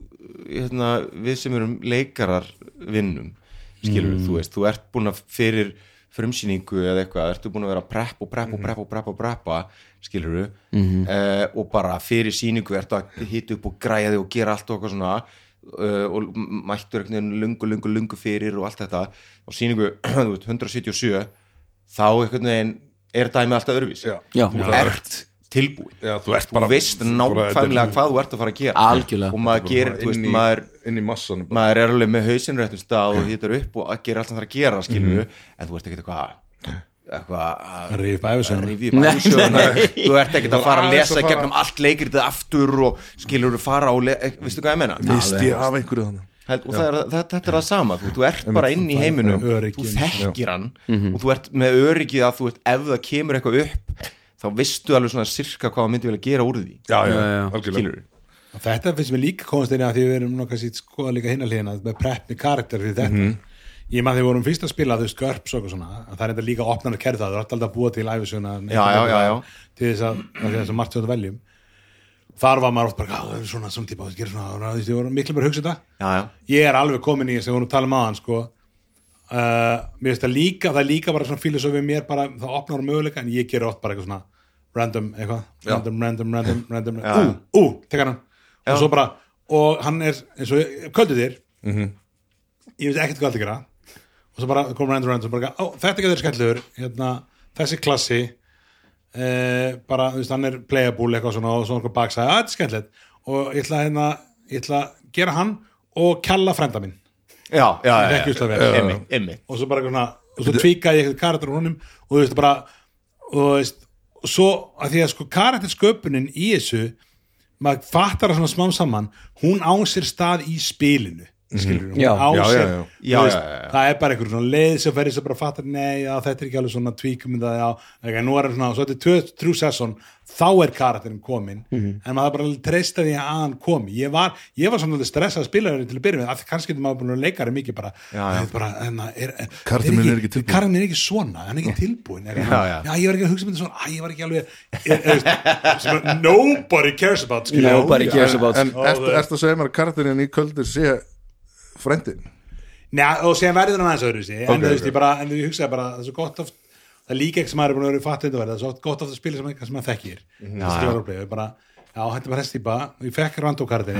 D: hérna, við sem erum leikarar vinnum skilur þú veist, þú ert búin að fyrir frumsýningu eða eitthvað, ertu búin að vera að preppa og preppa og preppa og preppa og preppa skilur þú, og bara fyrir sýningu ertu að hita upp og græja þig og gera allt og eitthvað svona uh, og m- mættur einhvern veginn lungu, lungu, lungu fyrir og allt þetta, og sýningu [CLEARS THROAT] þú veist, 177 þá einhvern veginn er dæmi alltaf öðruvís
E: Já.
B: Já.
D: þú ert tilbúin
E: Já, þú ert
D: þú
E: bara-
D: veist
E: bara-
D: nákvæmlega
E: þetta er-
D: hvað þú ert að fara að gera
B: Algjörlega.
D: og maður gerir, þú veist,
E: inn í,
D: maður
E: inn í massanum bara.
D: maður er alveg með hausinn réttum stað og hittar upp og að gera allt sem það er að gera skilur
E: Mhm.
D: en þú ert ekkert eitthvað eitthvað að-
A: Ríf bæfisöguna.
D: að rífa upp ævisöguna. þú ert ekkert að fara að
E: aðeins að
D: lesa
E: fara-
D: gegnum allt leikritið aftur og skilur fara og le- eh, veistu hvað ég menna
E: misti ég af einhverju þannig
D: Held, og það er, það, þetta er það sama, þú, þú ert bara inn í heiminum
A: Öryggi.
D: þú þekkir hann og þú ert með öryggið að þú ert ef það kemur eitthvað upp þá veistu alveg svona sirka hvað það myndi vilja gera úr því
E: já, já,
B: já.
E: algjörlega
D: skilur
A: Þetta finnst mér líka komast einnig að því við erum nokkað sýtt skoða líka hinn að hlýna með preppi karakter fyrir þetta
D: Mhm.
A: Ég maður þegar við vorum fyrst að spila þau skörps og eitthvað svona að það er þetta líka opnar að kerða það, það er alltaf að búa til æfisuna
D: Já, já, já, já.
A: til þess að, að því að þess að margt sem þetta veljum Þar var maður oft bara, "Á, það er svona, svona típa, það gerir svona, og það er miklu mér að hugsa um þetta
D: já, já.
A: ég er alveg komin í þess að við vorum að tala um aðan sko. uh, mér finnst það líka það er líka bara svona fílisofið mér bara, það opnar möguleika en ég ger oft bara eitthvað svona random eitthvað random, random, random, random ú, ú, tekan hann og svo bara, og hann er eins og köldu þér ég veist ekkert hvað allt að gera og svo bara kom random, random og bara, ó, þetta getur skellur hérna, þessi klassi eh, bara, þú veist, hann er playable eitthvað svona og svona okkur baksæði, að þetta er skemmtilegt og ég ætla að hérna, ég ætla að gera hann og kjalla frenda minn
D: já, já, já,
A: Ekki
D: já,
A: usla vel.
D: já. Einmitt, einmitt.
A: og svo bara eitthvað svona, og svo tvíkaði ég eitthvað karakter úr honum og þú veist, bara og þú veist, og svo að því að sko karakter sköpunin í þessu maður fattar það svona smám saman hún á sér stað í spilinu skilur mm.
B: Já.
A: á
E: Já,
A: sér
E: já, já.
A: þú
D: Já,
A: veist,
D: já, já, já.
A: það er bara einhver svona leið sem ferði sem bara fattar nei, já, þetta er ekki alveg svona tvíkum það, já, ekki, nú er það svona, svo þetta er tvö- þrjú sesson, þá er karakterin komin en maður bara treysta því að hann komi ég var, ég var svona stressað að spila þeirri til að byrja með, af því kannski getur maður búin að leika þeirri mikið bara, já, já. bara en, það er, er,
E: Karakterinn
A: er
E: er ekki tilbúinn.
A: karakterinn er ekki svona, hann er ekki tilbúin er, já,
D: já.
A: ég var ekki að hugsa með þetta svona, að ég var ekki alveg er, er, [LAUGHS] sem að nobody cares about skilur.
B: Nobody cares
E: En,
B: about
E: en
A: Ó,
E: ertu
A: það-
E: ertu að segja mér að karakterinn í kvöldur sé frendin?
A: Nei, og sem verður hann aðeins öðruvísi en,
E: Ok,
A: þú veist,
E: ok.
A: ég bara, en ég hugsaði bara það er svo gott oft, það er líka ekki sem maður er búin að vera fatt undir það er svo oft gott oft að spila sem eitthvað sem maður þekkir
E: Mhm.
A: þessi rólplay, ég bara, já, þetta er bara þessi típa og ég fekk randókarðin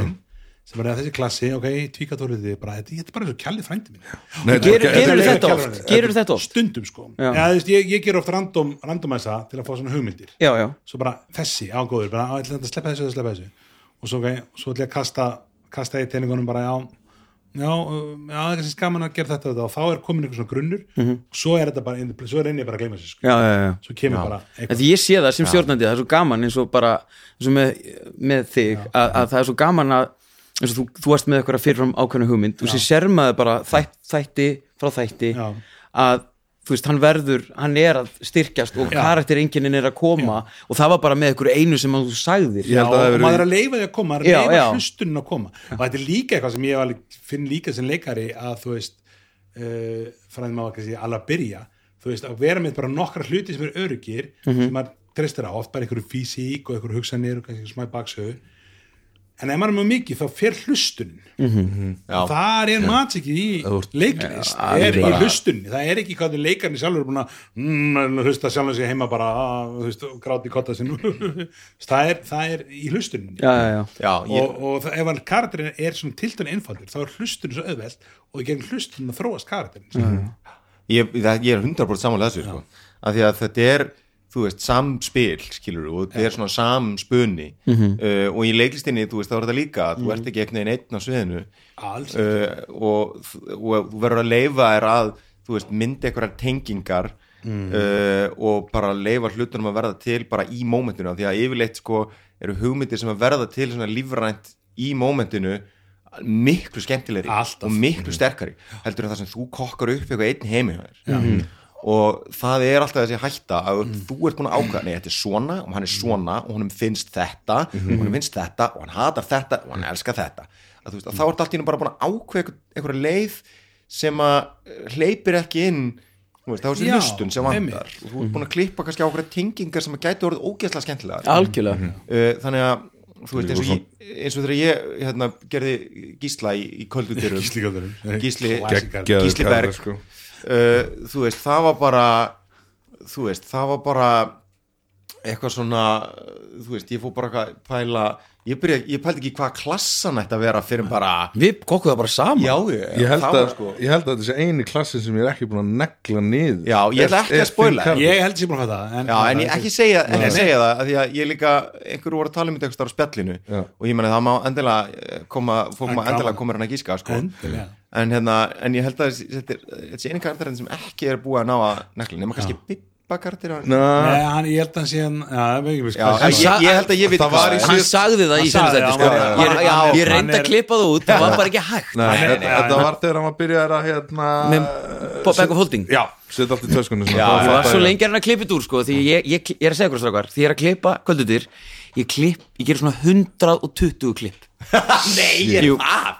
A: sem bara, þessi klassi, ok, tvíkatóliði bara, þetta þetta er bara eins og kjalli frændi mín
E: Nei,
B: Gerur-
E: þetta-
B: gerurðu
E: þetta-
B: þetta oft? Gerurðu þetta oft?
A: Stundum, sko
B: Já.
A: ja, veist, ég, ég ger oft random, randomæsa til að fá svona hugmyndir
B: Já, já,
A: svo bara þessi ágóður bara, á, ég ætla þetta að sleppa þessu, að sleppa þessu og svo, okay, svo ætla ég að kasta, kasta ég teiningunum bara já, já, um, já það er kannski skaman að gera þetta, og þetta og þá er komin einhver svona grunnur og svo er þetta bara, in the place, svo er einnig bara að gleyma þessu sko.
B: Mhm. já, já, já.
A: svo kemur
B: Já.
A: bara
B: En
A: eitthvað
B: Því ég sé það sem stjórnandi, það er svo gaman eins og bara eins og með, með þig að, að það er svo gaman að eins og þú, þú varst með eitthvað fyrirfram ákveðna hugmynd og sér sermaði bara þætt, þætti frá þætti
A: Já.
B: að þú veist, hann verður, hann er að styrkjast og
A: Já.
B: karakterenginnin er að koma og það var bara með eitthvað einu sem að þú sagðir
E: Ég
A: Já,
E: held að það
A: og
E: hefur
A: maður er
E: verið-
A: að leifa því að koma, maður
B: Já,
A: er að
B: já.
A: leifa hlustunin að koma og þetta er líka eitthvað sem ég alveg, finn líka sem leikari að þú veist uh, fræðum á að kannski alveg að byrja þú veist, að vera með bara nokkra hluti sem eru örugir
E: Mhm.
A: sem maður treystir á, oft bara einhverju físík og einhverju hugsanir og kannski smæ baksöðu en ef maður er mjög mikið þá fer hlustunin
D: Já.
A: þar er matsikið í leiklist er í hlustunni, það er ekki hvað leikarni sjálfur er búin að mm, hlusta sjálfur sig heima bara ah, þú veist, og gráti í kotta [LAUGHS] sinn það, er, það er í hlustunni
B: já, já, já.
D: Já, ég,
A: og, og það, ef hann karakterin er svona tiltun einfaldur þá er hlustunni svo auðvelt og í gegn hlustunni að þróast karakterin mm.
D: ég, það, ég er 100% samanlega þessu sko. af því að þetta er þú veist, samspil, skilur og þetta er svona samspunni uh, og í leiklistinni, þú veist, þá er þetta líka að
A: Mhm.
D: þú ert ekki einhvern veginn einn á sviðinu
A: alls
D: uh, og, og þú verður að leifa þér að þú veist, myndi einhverjar tengingar
A: Mm.
D: uh, og bara leifa hlutunum að verða til bara í mómentinu af því að yfirleitt sko eru hugmyndir sem að verða til svona lífrænt í mómentinu miklu skemmtilegri
A: Alltaf.
D: og miklu sterkari heldur en það sem þú kokkar upp eitthvað einn heimi hjá þér og það er alltaf þessi hætta að þú ert búin að ákvæða, nei þetta er svona og hann er svona og honum finnst þetta og honum finnst þetta og hann hatar þetta og hann elskar þetta að, þú veist, að þá ert allt í hennu bara búin að ákveða einhver- einhverja leið sem að eh, hleypir ekki inn þú veist, þá er þessi
A: Já,
D: hlustun sem vandar
A: einmitt.
D: og þú ert búin að klippa kannski á einhverja tengingar sem að gæti orðið ógeðslega skemmtilega
B: algjörlega
D: uh, þannig að þú veist eins og, ég, eins og þegar ég hérna, gerði gísla í, í köldudyrum
A: Gísli Gjöldurinn.
D: Gísli-
A: Klassíkar.
E: Geggjaður
D: Gísli Berg.
E: karakter, sko.
D: uh, þú veist, það var bara þú veist, það var bara eitthvað svona uh, þú veist, ég fór bara eitthvað að pæla ég, byrja, ég pældi ekki hvað klassan ætti að vera fyrir en bara,
B: Við kokkuðum það bara saman
D: já,
E: Ég held,
D: það
E: að,
D: var sko
E: ég held að þetta sé eini klassin sem ég er ekki búin að negla niður
D: Já, ég ætla
E: Er-
D: ekki að
E: er
D: spoila.
E: þinn karakter.
A: ég held sér búin að þetta
D: Já, en ég ekki segja, ekki segja það af því að ég líka, einhverju voru að tala um þetta eitthvað á spjallinu
E: Já.
D: og ég meni það má endilega eh, koma, fólk
A: Það er
D: má endilega
A: gaman.
D: koma hérna að gíska sko.
A: Endilega.
D: en, hérna, en ég held að þessi- þetta er- þetta sé eini karakterinn sem ekki er búið að ná að negla nema kannski bippa karakterinn
E: Ná,
A: Nei, hann, ég held að hann sé hann já, ég veit ekki, við
D: Já,
A: skulum-
D: en ég, ég held að ég veit
E: Það var í
D: hvað-
B: Hann sagði það
A: Hann
B: í sinni
A: sagði
B: þetta
A: það,
B: sko.
A: hann
D: var-
B: Ég,
D: já,
B: ég, ég
A: hann
B: reyndi
A: er-
B: að klippa það út það var bara ekki hægt
E: Nei,
A: Nei,
E: þetta,
A: nei,
E: þetta
A: nei.
E: var þegar hann var byrjaðir að hérna,
B: Bob Beck og Holding
E: Já, setja allt í töskunni svona.
D: Já,
E: Það
B: Það var
E: fattaði
B: svo
E: ég.
B: lengi er hann að klippa þetta úr sko Því ég, ég, ég er að segja ykkur strákar Því ég er að klippa kvöldutir Ég klipp, ég gerir svona 120 klipp [LAUGHS] Nei, er það?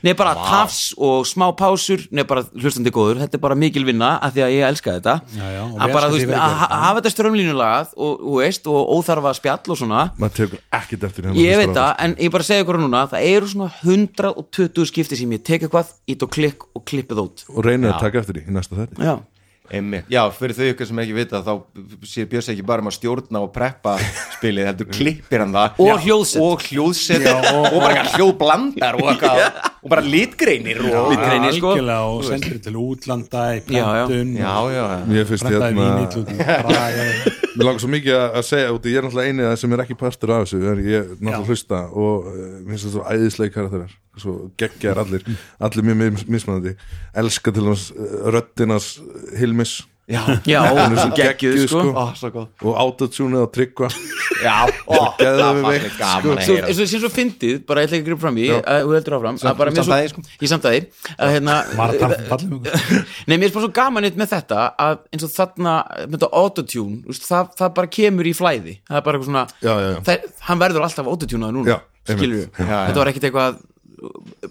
B: Nei, bara tafs og smá pásur Nei, bara hlustandi góður Þetta er bara mikil vinna af því að ég elska þetta
A: Já, já, og við
B: Að bara, þú
A: elskum þig
B: veist,
A: fyrir
B: að
A: þetta.
B: ha- hafa þetta strömlínulagað og, og veist, og óþarfa spjall og svona
E: Maður tekur ekkert eftir hérna
B: Ég veit það, en ég bara segi ykkur núna Það eru svona 120 skipti sem ég tek eitthvað Ít og klikk og klippi það út
E: Og reynið að taka eftir því í næsta þetta
B: Já,
D: Einmitt. Já, fyrir þau ykkur sem ekki vita þá sé Björns ekki bara um að stjórna og preppa spilið, heldur klippir hann það
B: Og hljóðset.
D: og, hljóðset og, bara eitthvað hljóðblandar og, eitthvað, og bara litgreinir og,
A: Já,
B: greinir, sko.
A: algjörlega og sendur til útlanda í
B: Já, já.
A: plantun
D: Já, já, já.
E: Mér finnst
A: Prentaði
E: hérna
A: vín í útlöndum,
E: [LAUGHS]
A: Braga.
E: Mér langar svo mikið að að segja úti Ég er náttúrulega einið það sem er ekki partur af þessu En ég er náttúrulega hlusta Og eh, mér finnst þetta svo æðislega karakterar Svo eh, geggjar allir Allir mjög mis- mismunandi Elska til hans röttinas eh, Hilmis
D: já,
B: Já,
E: Hún er svo
B: [LAUGHS] geggjuð
E: geggjuð,
B: sko
E: sko.
D: ó, svo góð
E: og autotunið og tryggva
D: já, ó, það
E: Geðum við
D: var
E: veikt,
D: gaman að
B: sko. Svo,
D: heyra
B: eins og það sé svo fyndið, bara ég ætla ekki að gripa fram í að þú heldur áfram að bara mér
D: samt að því,
B: svo, ég samt að því að hérna
A: Marta, fallum við.
B: [LAUGHS] Nei, mér er bara svo gaman eitt með þetta að eins og þarna, með þetta autotune þú veist, það, það bara kemur í flæði það er bara eitthvað svona,
E: Já, já, já.
B: Það, hann verður alltaf autotunaði núna,
E: Já, einmitt.
B: skilur við
E: Já,
D: já.
B: þetta var ekkit eitthvað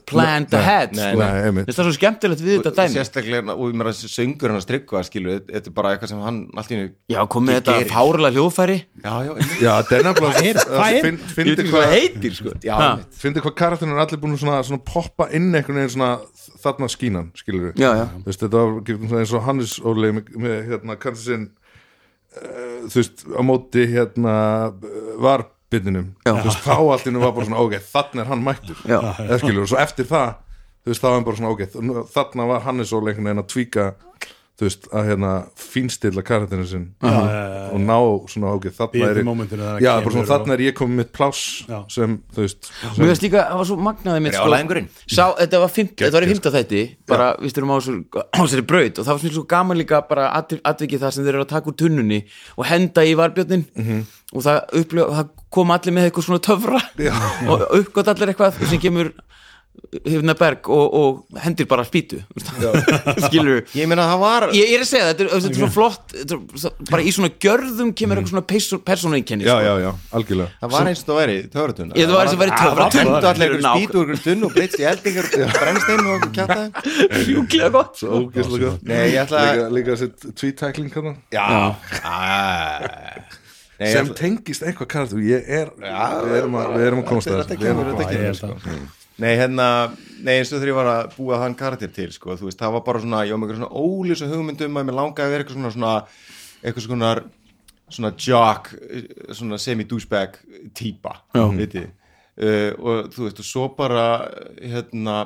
B: planned ahead,
D: nei,
B: sko.
E: nei,
B: Mér
E: einmitt.
B: finnst það er svo skemmtilegt við þetta dæmi
D: sérstaklega, og ég meira söngur hann að strykka skilu, þetta er bara eitthvað sem hann allt í hennu,
B: Já, komið
D: Ég
B: þetta
D: gerir.
B: fárulega hljóðfæri
D: já, já, einmitt.
E: já, þetta er nefnilega
A: hvað er-
E: Finn-
B: Ég veit
E: fyndi
B: ekki hvað
E: hvað
B: það heitir, sko
D: já,
B: Ha.
D: einmitt.
E: fyndi hvað karakterinn er allir búin að svona, svona poppa inn einhvern veginn svona þarna skínan, skilur við
B: Já, já.
E: Þú veist, þetta var gefnum svona eins og Hannes Óli með, með hérna, kannski sinn uh, þú veist, á móti hérna eh, varbyrninum
B: Já.
E: þú veist, þá allinu var bara svona, ok, þannig er hann mættur
B: Já.
E: eða skilur, og svo eftir það þú veist, þá var hann bara svona, ok, nú- þarna var Hannes Óli einhvern veginn að tvíka þú veist, að hérna fínstilla karakterinu sinn Mhm.
A: Já,
E: og ná svona, ok,
A: Bíða
E: þarna er
A: til momentinu þegar það
E: já,
A: kemur
E: bara
A: og-
E: svona, þarna er ég komið mitt pláss
A: Já.
E: sem, þú veist
B: Mér finnst líka, það var svo magnaði mitt sko,
D: Brjálæðingurinn.
B: sá, þetta, var fimmt, þetta var í fymta þætti bara, við styrum á þessu- á þessari braut og það var svona svo gaman líka bara atv- atvikið það sem þeir eru að taka úr tunnunni og henda í varbjörnin
E: Mhm.
B: og það, upplega, það kom allir með eitthvað svona töfra [LAUGHS] og uppgótt allir eitthvað sem kemur Hifna Berg og, og hendir bara spýtu [LAUGHS] skilur
D: ég meina það var
B: Ég, ég er að segja það, þetta er, þetta er svona flott þetta er, svo- bara í svona gjörðum kemur eitthvað svona sko. persónuinkenni
E: Mhm. já, já, já, algjörlega
D: það var eins og það væri töfratun
B: Ég, það var eins og væri töfratunna.
D: það var allir einhver
B: Nák-
D: spýt úr einhver tunn og breytt í eldingar brennstein og kjátaði
B: Sjúklega gott sko.
E: Svo ógeðslega gott.
D: Nei, ég ætla að-
E: líka, líka sitt tvítækling hérna
D: já Nei,
E: sem
D: ég-
E: tengist eitthvað karakter ég er, við erum að, við erum að komast að þessu. Við erum að
A: já, ég held
B: sko.
A: að
D: Nei, hérna, nei, eins og þegar ég var að búa þann karakter til, sko, þú veist, það var bara svona, ég var með eitthvað svona ólýsa hugmyndum að mér langaði að vera eitthvað svona, svona eitthvað svona, svona jock, svona semi-douchebag típa, vitið, uh, og þú veist, og svo bara, hérna,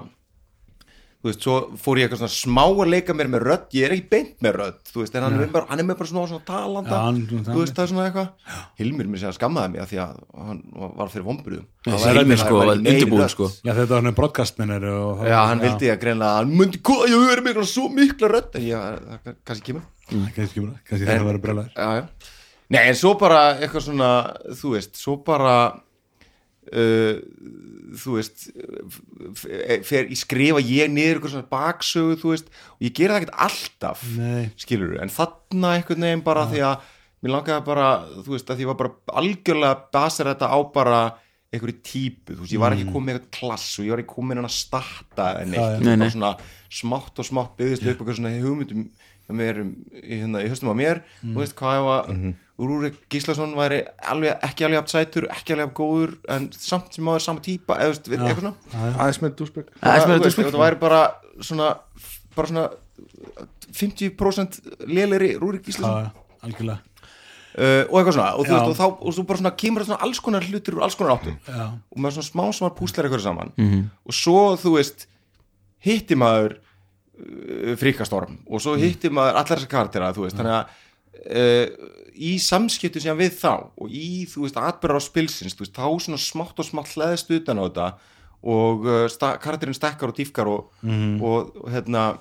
D: þú veist, svo fór ég eitthvað svona smá að leika mér með rödd, ég er ekki beint með rödd, þú veist, en hann, er, bara, hann er með bara svona, svona talanda,
A: Já, hann er svona
D: þú veist, það er svona eitthvað, Hilmir mér segja skammaði mig að því að hann var fyrir vombriðum.
B: Þessi Hilmir sko, var undirbúin sko
A: Já, þetta var hann broadcastmennir og
D: Já, hann vildi að greina að hann myndi koma, ég verið mikla svo mikla rödd en ég, það kann- kannski kemur
A: Kannski kemur það, kannski þetta verður brjólaður
D: já, já. Nei, en svo bara eitthvað svona, þú veist, svo bara uh, þú veist f- f- fer, ég skrifa ég niður eitthvað svona baksögu, þú veist, og ég gera það ekkert alltaf,
A: Nei.
D: skilur en þarna einhvern veginn bara því að mér langaði bara, þú veist, að því ég var bara algjörlega basar þetta á bara einhverju típu, þú veist, ég var ekki komin með eitthvað klass og ég var ekki komin hann að starta en
A: Mm. já.
D: eitt,
B: Nei, nei.
D: bara svona smátt og smátt byggðist upp eitthvað svona hugmyndum hjá mér, um- í hérna, í höstum á mér þú veist hvað ef að Úrúrik Gíslason væri alveg, ekki alveg aft sætur ekki alveg aft góður, en samt sem áður sama típa, eða þú veist, eitthvað svona
E: komast sko. aðeins með dúsbygg
B: Það er
D: Þú
B: sem
D: veist,
B: þetta
D: ef þetta væri bara svona bara svona 50% léleri Rúrik Gíslason
A: Algjörlega
D: uh, og eitthvað svona og þú,
A: Já.
D: veist, og, þá, og þú bara svona kemur svona alls konar hlutir úr alls konar áttum
A: Já.
D: og maður svona smá smá púslar eitthvað saman -hmm. og svo þú veist hitti maður uh, fríkastorm og svo hitti maður allar þessar karaktera þú veist þannig að uh, í samskiptu sem við þá og í þú veist atbyrðar á spilsins þú veist, þá svona smátt og smátt hlæðist utan á þetta og uh, sta, karakterinn stekkar og dýfkar og, og, og hérna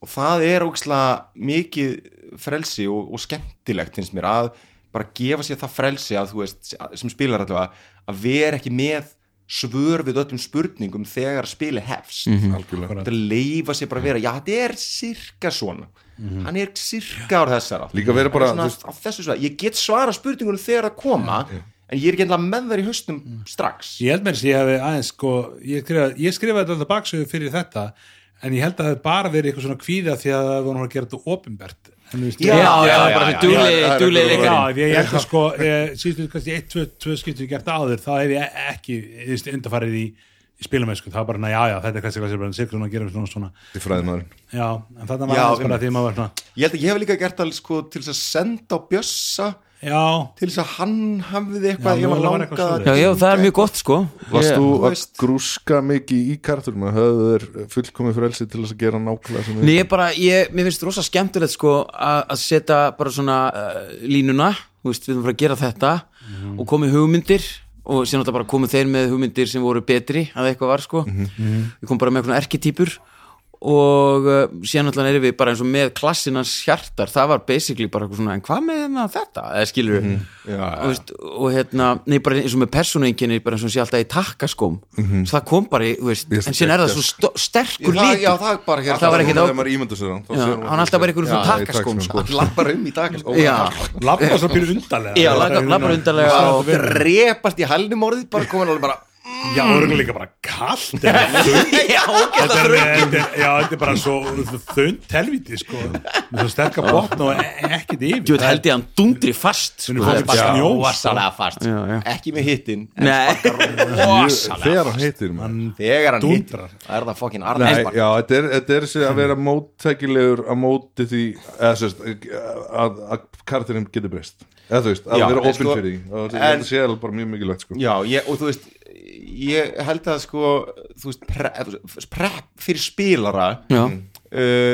D: og það er ógislega mikið frelsi og, og skemmtilegt finnst mér að bara gefa sér það frelsi að þú veist, sem spilar allavega að vera ekki með svör við öllum spurningum þegar spili hefst
A: Mhm.
E: algjörlega
D: þetta leifa sér bara að vera já, þetta er sirka svona hann er sirka á þessar átt.
E: Líka vera bara,
D: Hann er
E: þú
D: svona, á þessu svæði. ég get svara spurningunum þegar það koma en ég er ekki ennlega með þær í haustum strax
A: Ég held mér að ég hefði aðeins sko Ég skrifaði, ég skrifaði þetta baksögu fyrir þetta En ég held að það hefði bara verið eitthvað svona kvíða Því að það voru að gera þetta opinbert En þú veist,
D: Já,
A: ég-
B: Já, já,
D: já,
B: bara
D: já,
E: já, já,
B: dúli, dúli
E: já,
A: Já,
B: leikari
A: ef ég held að sko eh, síðustu kannski eitt, tvö, tvö skiptur gert áður þá hef ég e- ekki undarfarið í, í spilumessku, það var bara, na, já, já, þetta er kannski hvað sem bara sirkur hún að gera svona, svona
E: í fræðmaðurinn
A: já, en þetta var
D: Já,
A: aðeins bara
D: einmitt.
A: því maður var svona
D: ég held að ég hef líka gert það sko, til þess að senda á bjössa
A: já,
D: til þess að hann hafði eitthvað
A: Já,
D: ég var
A: mögulega var eitthvað
D: langað
B: Já,
D: að-
A: svoleiðis.
B: já, það er mjög gott sko
E: Varst
B: Ég-
E: þú
D: þú
E: að
D: veist.
E: grúska mikið í karakterum að höfðu þér fullkomið frelsi til þess að gera nákvæmlega sem
B: Nei,
E: við
B: ég bara, ég, mér finnst rosa skemmtilegt sko að að setja bara svona uh, línuna, þú veist, við erum bara að gera þetta og komið hugmyndir og síðan alltaf bara komið þeir með hugmyndir sem voru betri að eitthvað var sko, ég kom bara með eitthvað erketýpur og uh, síðan alltaf erum við bara eins og með klassinans hjartar það var basically bara eitthvað svona en hvað með hérna þetta, eða skilur mm og, veist, og hérna, nei bara eins og með persónuenginni bara eins og sé alltaf í takkaskóm það kom bara, í, þú veist,
E: Ég-
B: en síðan er það svo stó- sterkur
D: það,
B: litur
D: já, það er bara hér
B: Það var ekkert á-
E: þegar maður ímynda sér hann þá
B: Já,
E: sér maður
B: hann alltaf bara í einhverjum
E: sko. Já,
B: svona
E: í
B: takkaskóm, sko.
E: takkaskóm,
D: hann lappar um í dag
B: Já,
A: Lappa svo pínu undarlega
B: já, labbar undarlega
D: bara [LAUGHS]
B: og
D: drepast í hælnum orðið bara komin alveg bara
A: Já, og örugglega líka bara
B: [LAUGHS]
A: kallt eða þunnt.
B: Já, ógeðslega
A: Þetta er- þetta er- Já, þetta er bara svo þund helviti sko með svo sterka botn og e- ekkert yfir
B: Jú, held ég að hann dundri fast sko.
A: Hún er fólk í snjó sko.
D: rosalega fast
B: Já, já.
D: ekki með hittin
B: Nei,
E: sko. þegar hann heitir maður.
D: þegar hann hitt
A: Dundrar.
D: það er það fokkin
E: Nei,
D: arðanspark
E: já, þetta er, þetta er sér að vera móttækilegur að móti því eða, sérst, að, að kartinum getur breyst eða þú veist, að
D: Já,
E: vera
D: en
E: opinn
D: sko-
E: fyrir því og
D: en-
E: þetta sé alveg bara mjög mikilvægt sko.
D: Já, ég, og þú veist ég held að sko þú veist, prep, prep fyrir spilara
B: Já.
D: uh,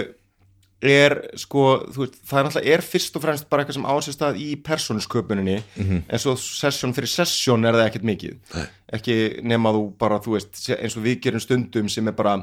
D: er sko þú veist, það er náttúrulega er fyrst og fremst bara eitthvað sem ásist að í persónusköpuninni
B: Mhm.
D: en svo session fyrir session er það ekkert mikið Nei. ekki nema þú bara þú veist sé- eins og við gerum stundum sem er bara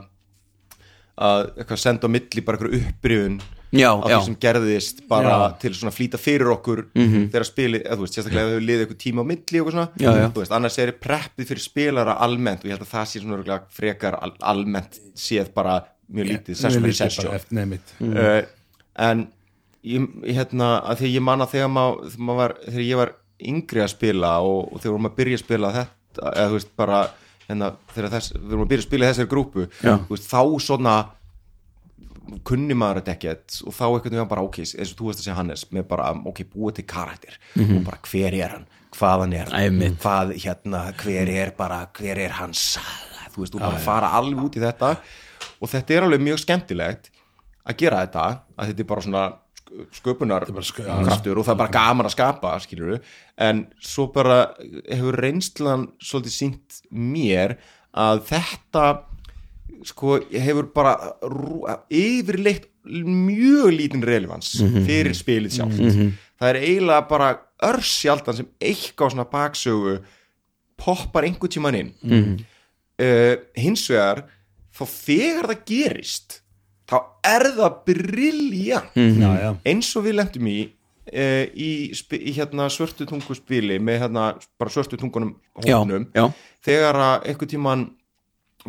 D: að eitthvað senda á milli bara eitthvað upprifun
B: Já,
D: af
B: já.
D: því sem gerðist bara til svona flýta fyrir okkur þegar spilið, eða þú veist, sérstaklega ef þau liðið eitthvað tíma á milli og eitthvað svona,
B: Mhm. Já, já.
D: þú veist, annars er preppið fyrir spilara almennt og ég held að það sé svona örugglega frekar al almennt séð bara mjög lítið session
A: Mjög
D: fyrir
A: lítið
D: session
A: bara eftir- nei, mitt.
D: uh, en ég, ég hérna, að því ég man að þegar maður, þegar, maður var, þegar ég var yngri að spila og, og þegar vorum að byrja að spila þetta, eða þú veist bara hérna, þegar þess, við vorum að byrja að spila í þessari grúpu
B: Já.
D: þú veist, þá svona kunni maður þetta ekkert og þá einhvern veginn bara ok, eins og þú veist að segja Hannes með bara um, ok, búa til karakter og bara hver er hann, hvaðan er hann
B: Einmitt.
D: hvað hérna, hver er bara hver er hans saga, þú veist, og bara fara alveg út í þetta og þetta er alveg mjög skemmtilegt að gera þetta að þetta er bara svona sköpunar kraftur og það er bara gaman að skapa skilur en svo bara hefur reynslan svolítið sínt mér að þetta sko hefur bara rú- yfirleitt mjög lítinn relevans fyrir spilið sjálft það er eiginlega bara örsjaldan sem eitthvað svona baksögu poppar einhvern tíman inn uh, hins vegar þá þegar það gerist þá er það briljant
B: Hmm.
A: Já, já
D: eins og við lendum í uh, í, spi- í hérna svörtu tungu spili með hérna bara svörtu tungunum
B: Já,
D: hóknum
B: já.
D: þegar að einhvern tíman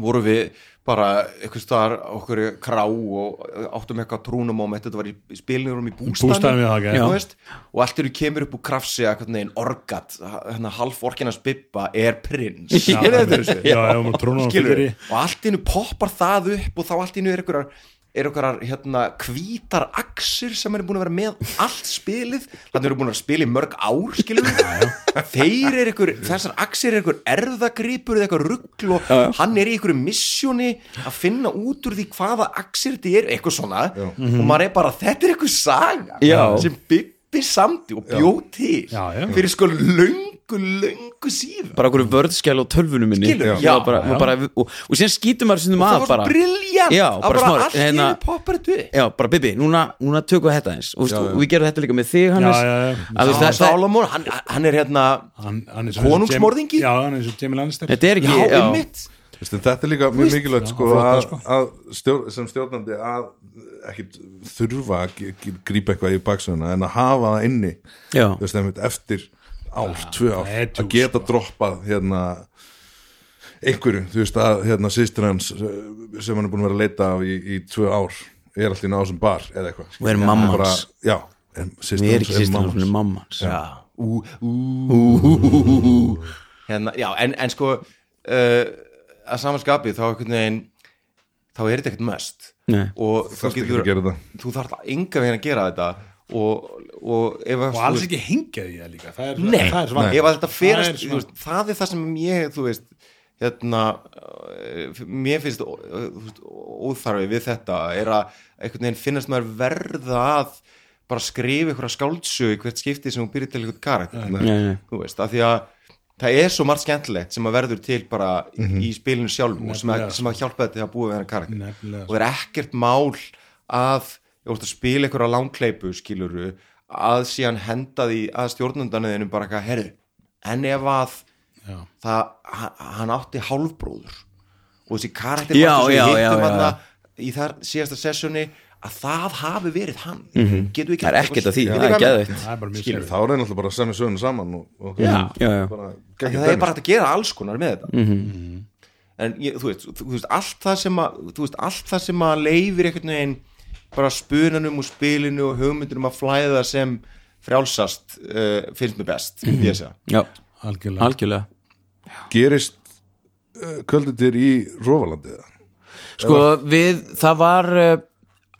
D: voru við bara einhvers staðar okkur í krá og áttum eitthvað trúnumóment þetta var í í spilinurum í bústanum,
A: Bústaðnum, já, ok.
D: þú
A: Já.
D: veist, og allt eru kemur upp úr krafsi að hvernig einn orgat hérna half orkinans bibba er
B: [LAUGHS]
D: prins
A: Já,
D: Er þetta þessu?
A: já, já, maður trónar á
D: skilur
A: fyrir.
D: og allt innu poppar það upp og þá allt innu er einhverjar er einhverjar hérna hvítar axir sem eru búin að vera með allt spilið þannig eru búin að spila í mörg ár skilur við þeir eru einhver þessar axir eru einhver erðagripur eða eitthvað ruggl og hann er í einhverju missjóni að finna út úr því hvaða axir þetta er eitthvað svona og maður er bara þetta er einhver saga
B: Já.
D: sem byggi samti og bjóð til
A: Já, já.
D: fyrir sko löngu löngu síðan
B: bara okkur vörðskjæl á tölvunum minni
D: Skilur,
B: Það
D: já.
B: var bara, bara, og, og síðan skýtum maður sundum
D: það
B: að
D: var svo
B: bara
D: briljant
B: Já,
D: að
B: bara
D: Ah, bara
B: smá-
D: allt í
B: hérna-
D: einu poppar þetta upp
B: Já, bara Bibi, núna, núna tökum við þetta eins og, veist, og við gerum þetta líka með þig, Hannes
A: Já, já, já.
B: Að, veist,
D: Já,
B: þetta,
D: Salomon, hann, hann er hérna
A: Hann- hann er svo-
D: Konungsmorðingi?
A: Já, hann er svo Jamie Lannister
B: þetta er
D: Já,
B: ekki
D: ymmit
E: Veistu, þetta er líka mjög mikilvægt sko,
A: flott,
E: að,
A: sko.
E: að stjór, sem stjórnandi að ekki þurfa að g- g- grípa eitthvað í baksöðuna en að hafa það inni
B: Já.
E: Þú veist, einmitt, eftir ár, tvö ár
A: það er djús,
E: að geta droppað hérna einhverju, þú veist að hérna sýstir hans eh, sem hann er búin að vera að leita af í, í tvö ár er alltaf í náðum bar eða eitthvað
B: Og er mamma
E: Bara-
B: hans.
E: já, en
B: Við erum
E: sýstir hans
B: ekki
E: er
B: sýstum
E: mamma
B: hann,
E: hans
B: mamma hans
D: Já, ú, ú, ú, ú, ú, ú, ú. Hérna, já, en, en sko uh, að samanskapi þá einhvern veginn þá er þetta ekkert mest
B: Nei.
D: og þú
E: þarft ekki
D: getur
E: að gera þetta.
D: þú þarf enga veginn að gera þetta og, og ef að
A: og alls ekki hengið í það líka það er,
D: Nei,
A: það er svona
D: ef að þetta
A: Það
D: fyrir
A: er
D: það,
A: svona-
D: veist, það er það sem ég þú veist hérna, eh, mér finnst ó- eh, þú veist, óþarfi við þetta er að einhvern veginn finnast maður verða að bara skrifa einhverja skáldsög í hvert skipti sem hún byrja til einhvern karakter
B: Nei, nei.
D: þú veist, af því að það er svo margt skemmtilegt sem að verður til bara í spilinu sjálfum og sem að,
A: Mhm. Nefnilega.
D: sem að hjálpa þetta að búa við hennar karakter
A: Nefnilega.
D: og það er ekkert mál að, ég vorst að spila einhverja langkleipu skiluru, að síðan henda því að stjórnundanöðinu bara eitthvað herri, en ef að það, hann- hann átti hálfbróður og þessi karakter
B: Já,
D: sem
B: já, já,
D: við hittum
B: já.
D: hann í þar síðasta sessjóni að það hafi verið hann mm -hmm. getur við
B: Mhm. það er ekkert að því,
D: Vitið
B: það er
D: hvað ég meina?
B: geðveitt
A: það er bara mjög
E: skilur
A: skilur
E: þá er einhverjum bara að semja söguna saman og, og hérna,
B: Já, já, já.
E: bara
D: Af því
E: geggjað
D: það er
E: dæmi,
D: bara hægt að gera alls konar með þetta en ég, þú, veist, þú, veist, allt það sem að, þú veist allt það sem að leifir einhvern veginn bara spunanum og spilinu og hugmyndunum að flæða sem frjálsast uh, finnst mér best mm -hmm.
B: já,
A: algjörlega
B: algjörlega
E: gerist uh, kvöldutir í Rófalandi eða?
B: Sko við, það var uh,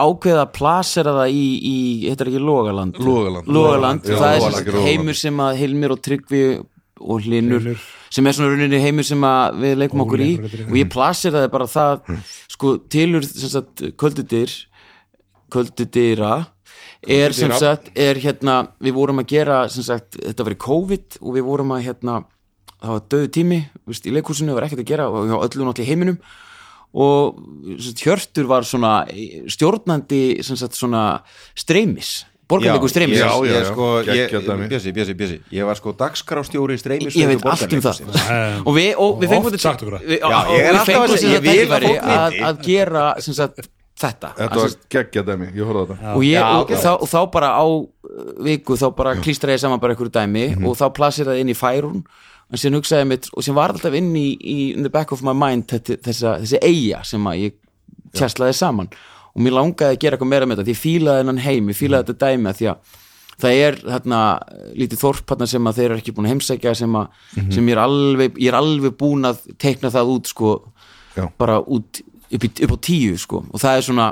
B: ákveða að plasera það í, í heitir ekki Logaland
E: Logaland.
B: Logaland,
E: Já,
B: það er
E: Logaland,
B: sem sagt
E: Logaland.
B: heimur sem að Hilmir og Tryggvi og Hlinur sem er svona rauninni heimur sem að við leikum okkur í
A: Ólíkur, þetta er-
B: og ég plaseraði bara það sko tilur sem sagt kvöldudyr kvöldudýra er sem sagt, er hérna við vorum að gera sem sagt, þetta var í COVID og við vorum að hérna það var döðu tími, þú veist, í leikhúsinu var ekkert að gera og hjá öllu náttúrulega í heiminum og sem sagt, Hjörtur var svona e, stjórnandi sem sagt svona streymis, borgarleikur streymis
D: ég,
E: Já, já,
D: ég,
E: já.
D: sko, ég,
E: Geggjað dæmi.
D: bjösi, bjösi, bjösi, ég var sko dagskrárstjóri í streymi
B: Ég- ég veit allt um það
A: Em,
B: [LAUGHS] og við, og við
A: oft
B: fengum
A: sagt okkur það.
B: við,
D: Já,
B: og
D: ég er
B: við
D: alltaf að
B: fengum þess
D: segja, ég
B: að
D: vil að
B: tækifæri
D: fólk
B: að,
D: viti.
B: að gera sem sagt, þetta
E: þetta
B: Að
E: var
B: sem sagt-
E: geggjað dæmi, ég horfði á þetta
B: og, ég,
D: Já,
B: og,
D: ok.
B: þá, og þá bara á uh, viku þá bara klístra ég saman bara einhverju dæmi og þá plasir það inn í færun en síðan hugsaði ég mitt og sem var alltaf inn í, í in the back of my mind þetta, þessa, þessi eiga sem að ég tjæslaði saman og mér langaði að gera eitthvað meira með þetta því ég fílaði hennan heim, ég fílaði þetta dæmi að því að það er hérna lítið þorp hérna sem að þeir eru ekki búin að heimsækja sem, að, sem ég, er alveg, ég er alveg búin að teikna það út sko
E: Já.
B: bara út upp, í, upp á tíu sko og það er svona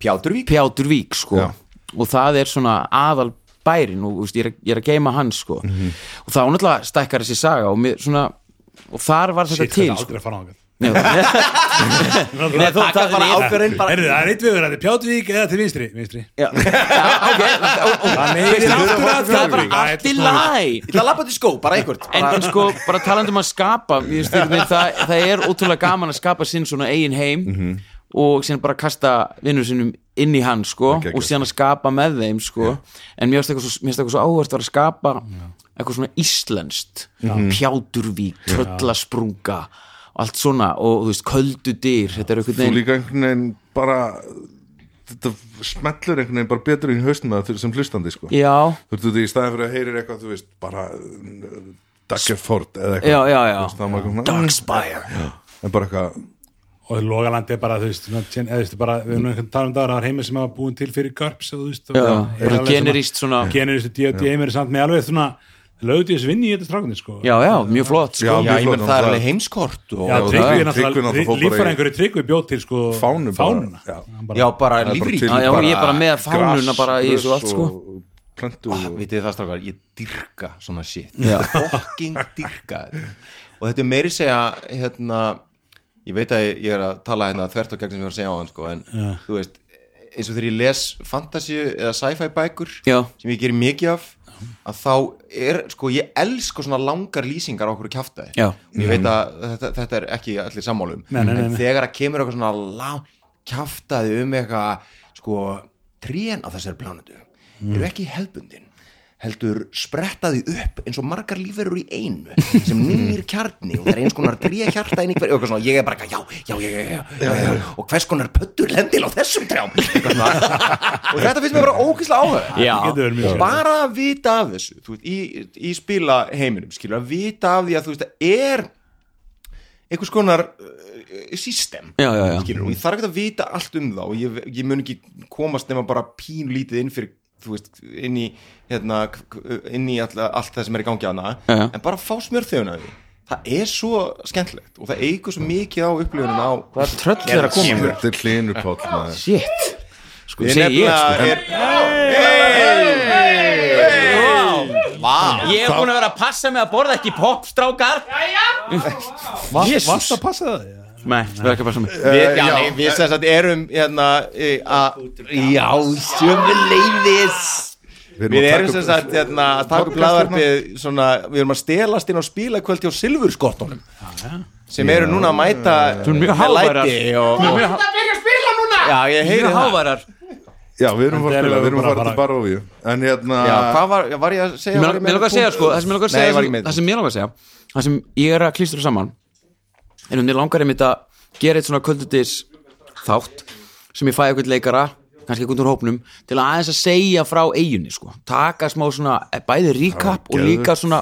D: Pjáturvík
B: Pjátur Vík sko
E: Já.
B: og það er svona aðal bærin og veist, ég, er, ég er að geima hann sko og þá náttúrulega stækkar þessi saga og, mér, svona, og þar var þetta
A: Shit,
B: til
A: þetta
B: sko.
A: aldrei að fara á hann
B: Nei,
A: [LAUGHS] Nei,
B: þú- það- ég-
D: ákveðin bara
A: Herðu, það er eitt viður, það er Pjátvík eða til vinstri Vinstri
B: Já, ok, og- og-
A: Það meiðir
B: veist,
A: fyrir
B: það er bara-
A: Pjátur
B: það er bara
A: Vík. Það er
B: allt í
A: eitthvað
B: læ
D: Ég ætla að lappa til skó, bara einhvert
B: en, en sko, bara talandum að skapa mér finnst einhvern veginn, það, það er ótrúlega gaman að skapa sinn svona eigin heim og síðan bara kasta vinnur sinnum inn í hann sko
E: geggjað.
B: og síðan að skapa með þeim sko en mér finnst eitthvað svo, mér finnst eitthvað svo áhvert að skapa eitthvað svona íslenskt pjáturvík, tröllasprunga og allt svona og þú veist, köldu dyr, þetta er
E: þú
B: eitthvað
E: líka einhvern veginn bara þetta smellur einhvern veginn bara betur í haustum að þau sem hlustandi sko.
B: Já,
E: þú veist, í staðin fyrir að heyrir eitthvað þú veist, bara uh, Daggerford eða eitthvað
B: já, já, já
E: Þú veist, það var eitthvað svona,
B: Darkspire
E: en bara eitthvað
A: og Logaland er bara, þú veist, svona, tjen- eða, þú veist bara, við erum einhvern talum dagar, það er heimir sem hafa búin til fyrir GURPS og, þú veist, og,
B: Já,
A: er
B: bara
A: alveg
B: generískt svona-
A: generískt og D&D heimir er samt með alveg svona lögðu þessu vinni í þetta strákunni sko.
B: Já, já, mjög flott sko
E: Já,
D: Já,
E: mjög
D: ég
E: flott,
D: menn það er
E: náttúrulega.
D: alveg heimskort og,
A: Já, Tryggvi
E: það-
A: er
E: Tryggvi
A: náttúrulega,
E: náttúrulega fór bara í-
A: líffræðingur Tryggvi bjóð til sko
E: Fánu bara,
A: fánuna
E: já.
A: Hann bara-
D: Já, bara
E: það er bara
D: lífrík
E: til
B: Já, já, ég er bara með fánuna
E: gras,
B: bara í þessu
E: grös
B: allt, sko. Ah,
E: og- og plöntu og
D: Vitið þið það strákar, ég dyrka svona shit Fucking dyrka þetta. Og þetta er meiri segja hérna, Ég veit að ég- ég er að tala hérna þvert og gegn sem ég var að segja á hann sko, En þú veist, eins og þegar ég les Fantasíu eða sci-fi bækur
B: Já.
D: Sem ég gerir mikið af Að þá er, sko, ég elska svona langar lýsingar á okkur kjaftaði
B: Já. Mm.
D: Ég veit að þetta, þetta er ekki allir um. sammálum
A: Nei, nei, nei,
D: En
A: nei.
D: þegar að kemur eitthvað svona lang, kjaftaði um eitthvað sko, trén á þessari plánutu
A: Mm.
D: eru ekki hefbundin heldur sprettaði upp eins og margar lífverur í einu sem
A: [LAUGHS]
D: nýr kjarni og það er eins konar dríja hjarta inn í hverju, eitthvað svona, ég er bara eitthvað, já, já, já, já, já, já, já, og hvers konar pöttur lendil á þessum trjám Eitthvað
A: [LAUGHS]
D: svona. og þetta finnst mér bara ókýrslega áhuga
B: Já,
A: Getur verið mjög
D: Og
A: sér.
D: bara að vita af þessu þú veist, í, í spila heiminum skilur að vita af því að þú veist að er einhvers konar uh, system
B: Já, já, já.
D: skilur, og ég þarf ekki að vita allt um þá og ég, ég mun ekki komast nema bara pínlítið inn fyrir þú veist, inn í, hérna, k- k- inn í all, allt það sem er í gangi hana
B: Já, já.
D: en bara fá smjörþjóðun af því það er svo skemmtlegt og það eigur svo mikið á upplifunum á
B: það er tröll þeirra að koma
E: þetta er hlinur pál maður.
B: Shit Sko,
D: Ég
B: segi ég sko.
D: nefnilega er Vá
B: Ég hef búin að vera að passa mig að borða ekki popstrákar
A: Vast
B: Jesus.
A: vast að passa það já.
B: Nei, það er ekki að passa mig
D: Við, já, nei, við sem sagt erum hérna eh, að, já, sömuleiðis
E: erum
D: Við
E: að taka
D: erum sem
E: upp-
D: sagt hérna að taka upp laðvarpið svona, við erum að stelast inn á spilakvöldi á silfurskottunum sem eru núna að mæta
B: Þú erum mjög
D: með
B: háværar.
D: læti og, og,
B: Mjög há-
D: Já, ég heyri
B: Mjög
D: það
B: hávarar
E: já, við erum farið
A: er
E: að spila, við erum
A: bara-
E: farið til Barovíu en hérna
D: Já, hvað var, var ég að segja?
B: Mér
D: Var ég með
B: mér langar að
D: punkt?
B: segja sko Það sem mér langar að
D: Nei,
B: segja
D: ég var
B: það
D: ekki
B: sem-
D: með
B: Það sem mér langar að segja Það sem ég er að klýstra saman En mér langar einmitt að gera eitt svona kvöldudis þátt sem ég fæ eitthvað leikara kannski eitthvað úr hópnum til að aðeins að segja frá eiginni sko. taka smá svona eh, bæði recap og
E: geðveikt.
B: líka svona,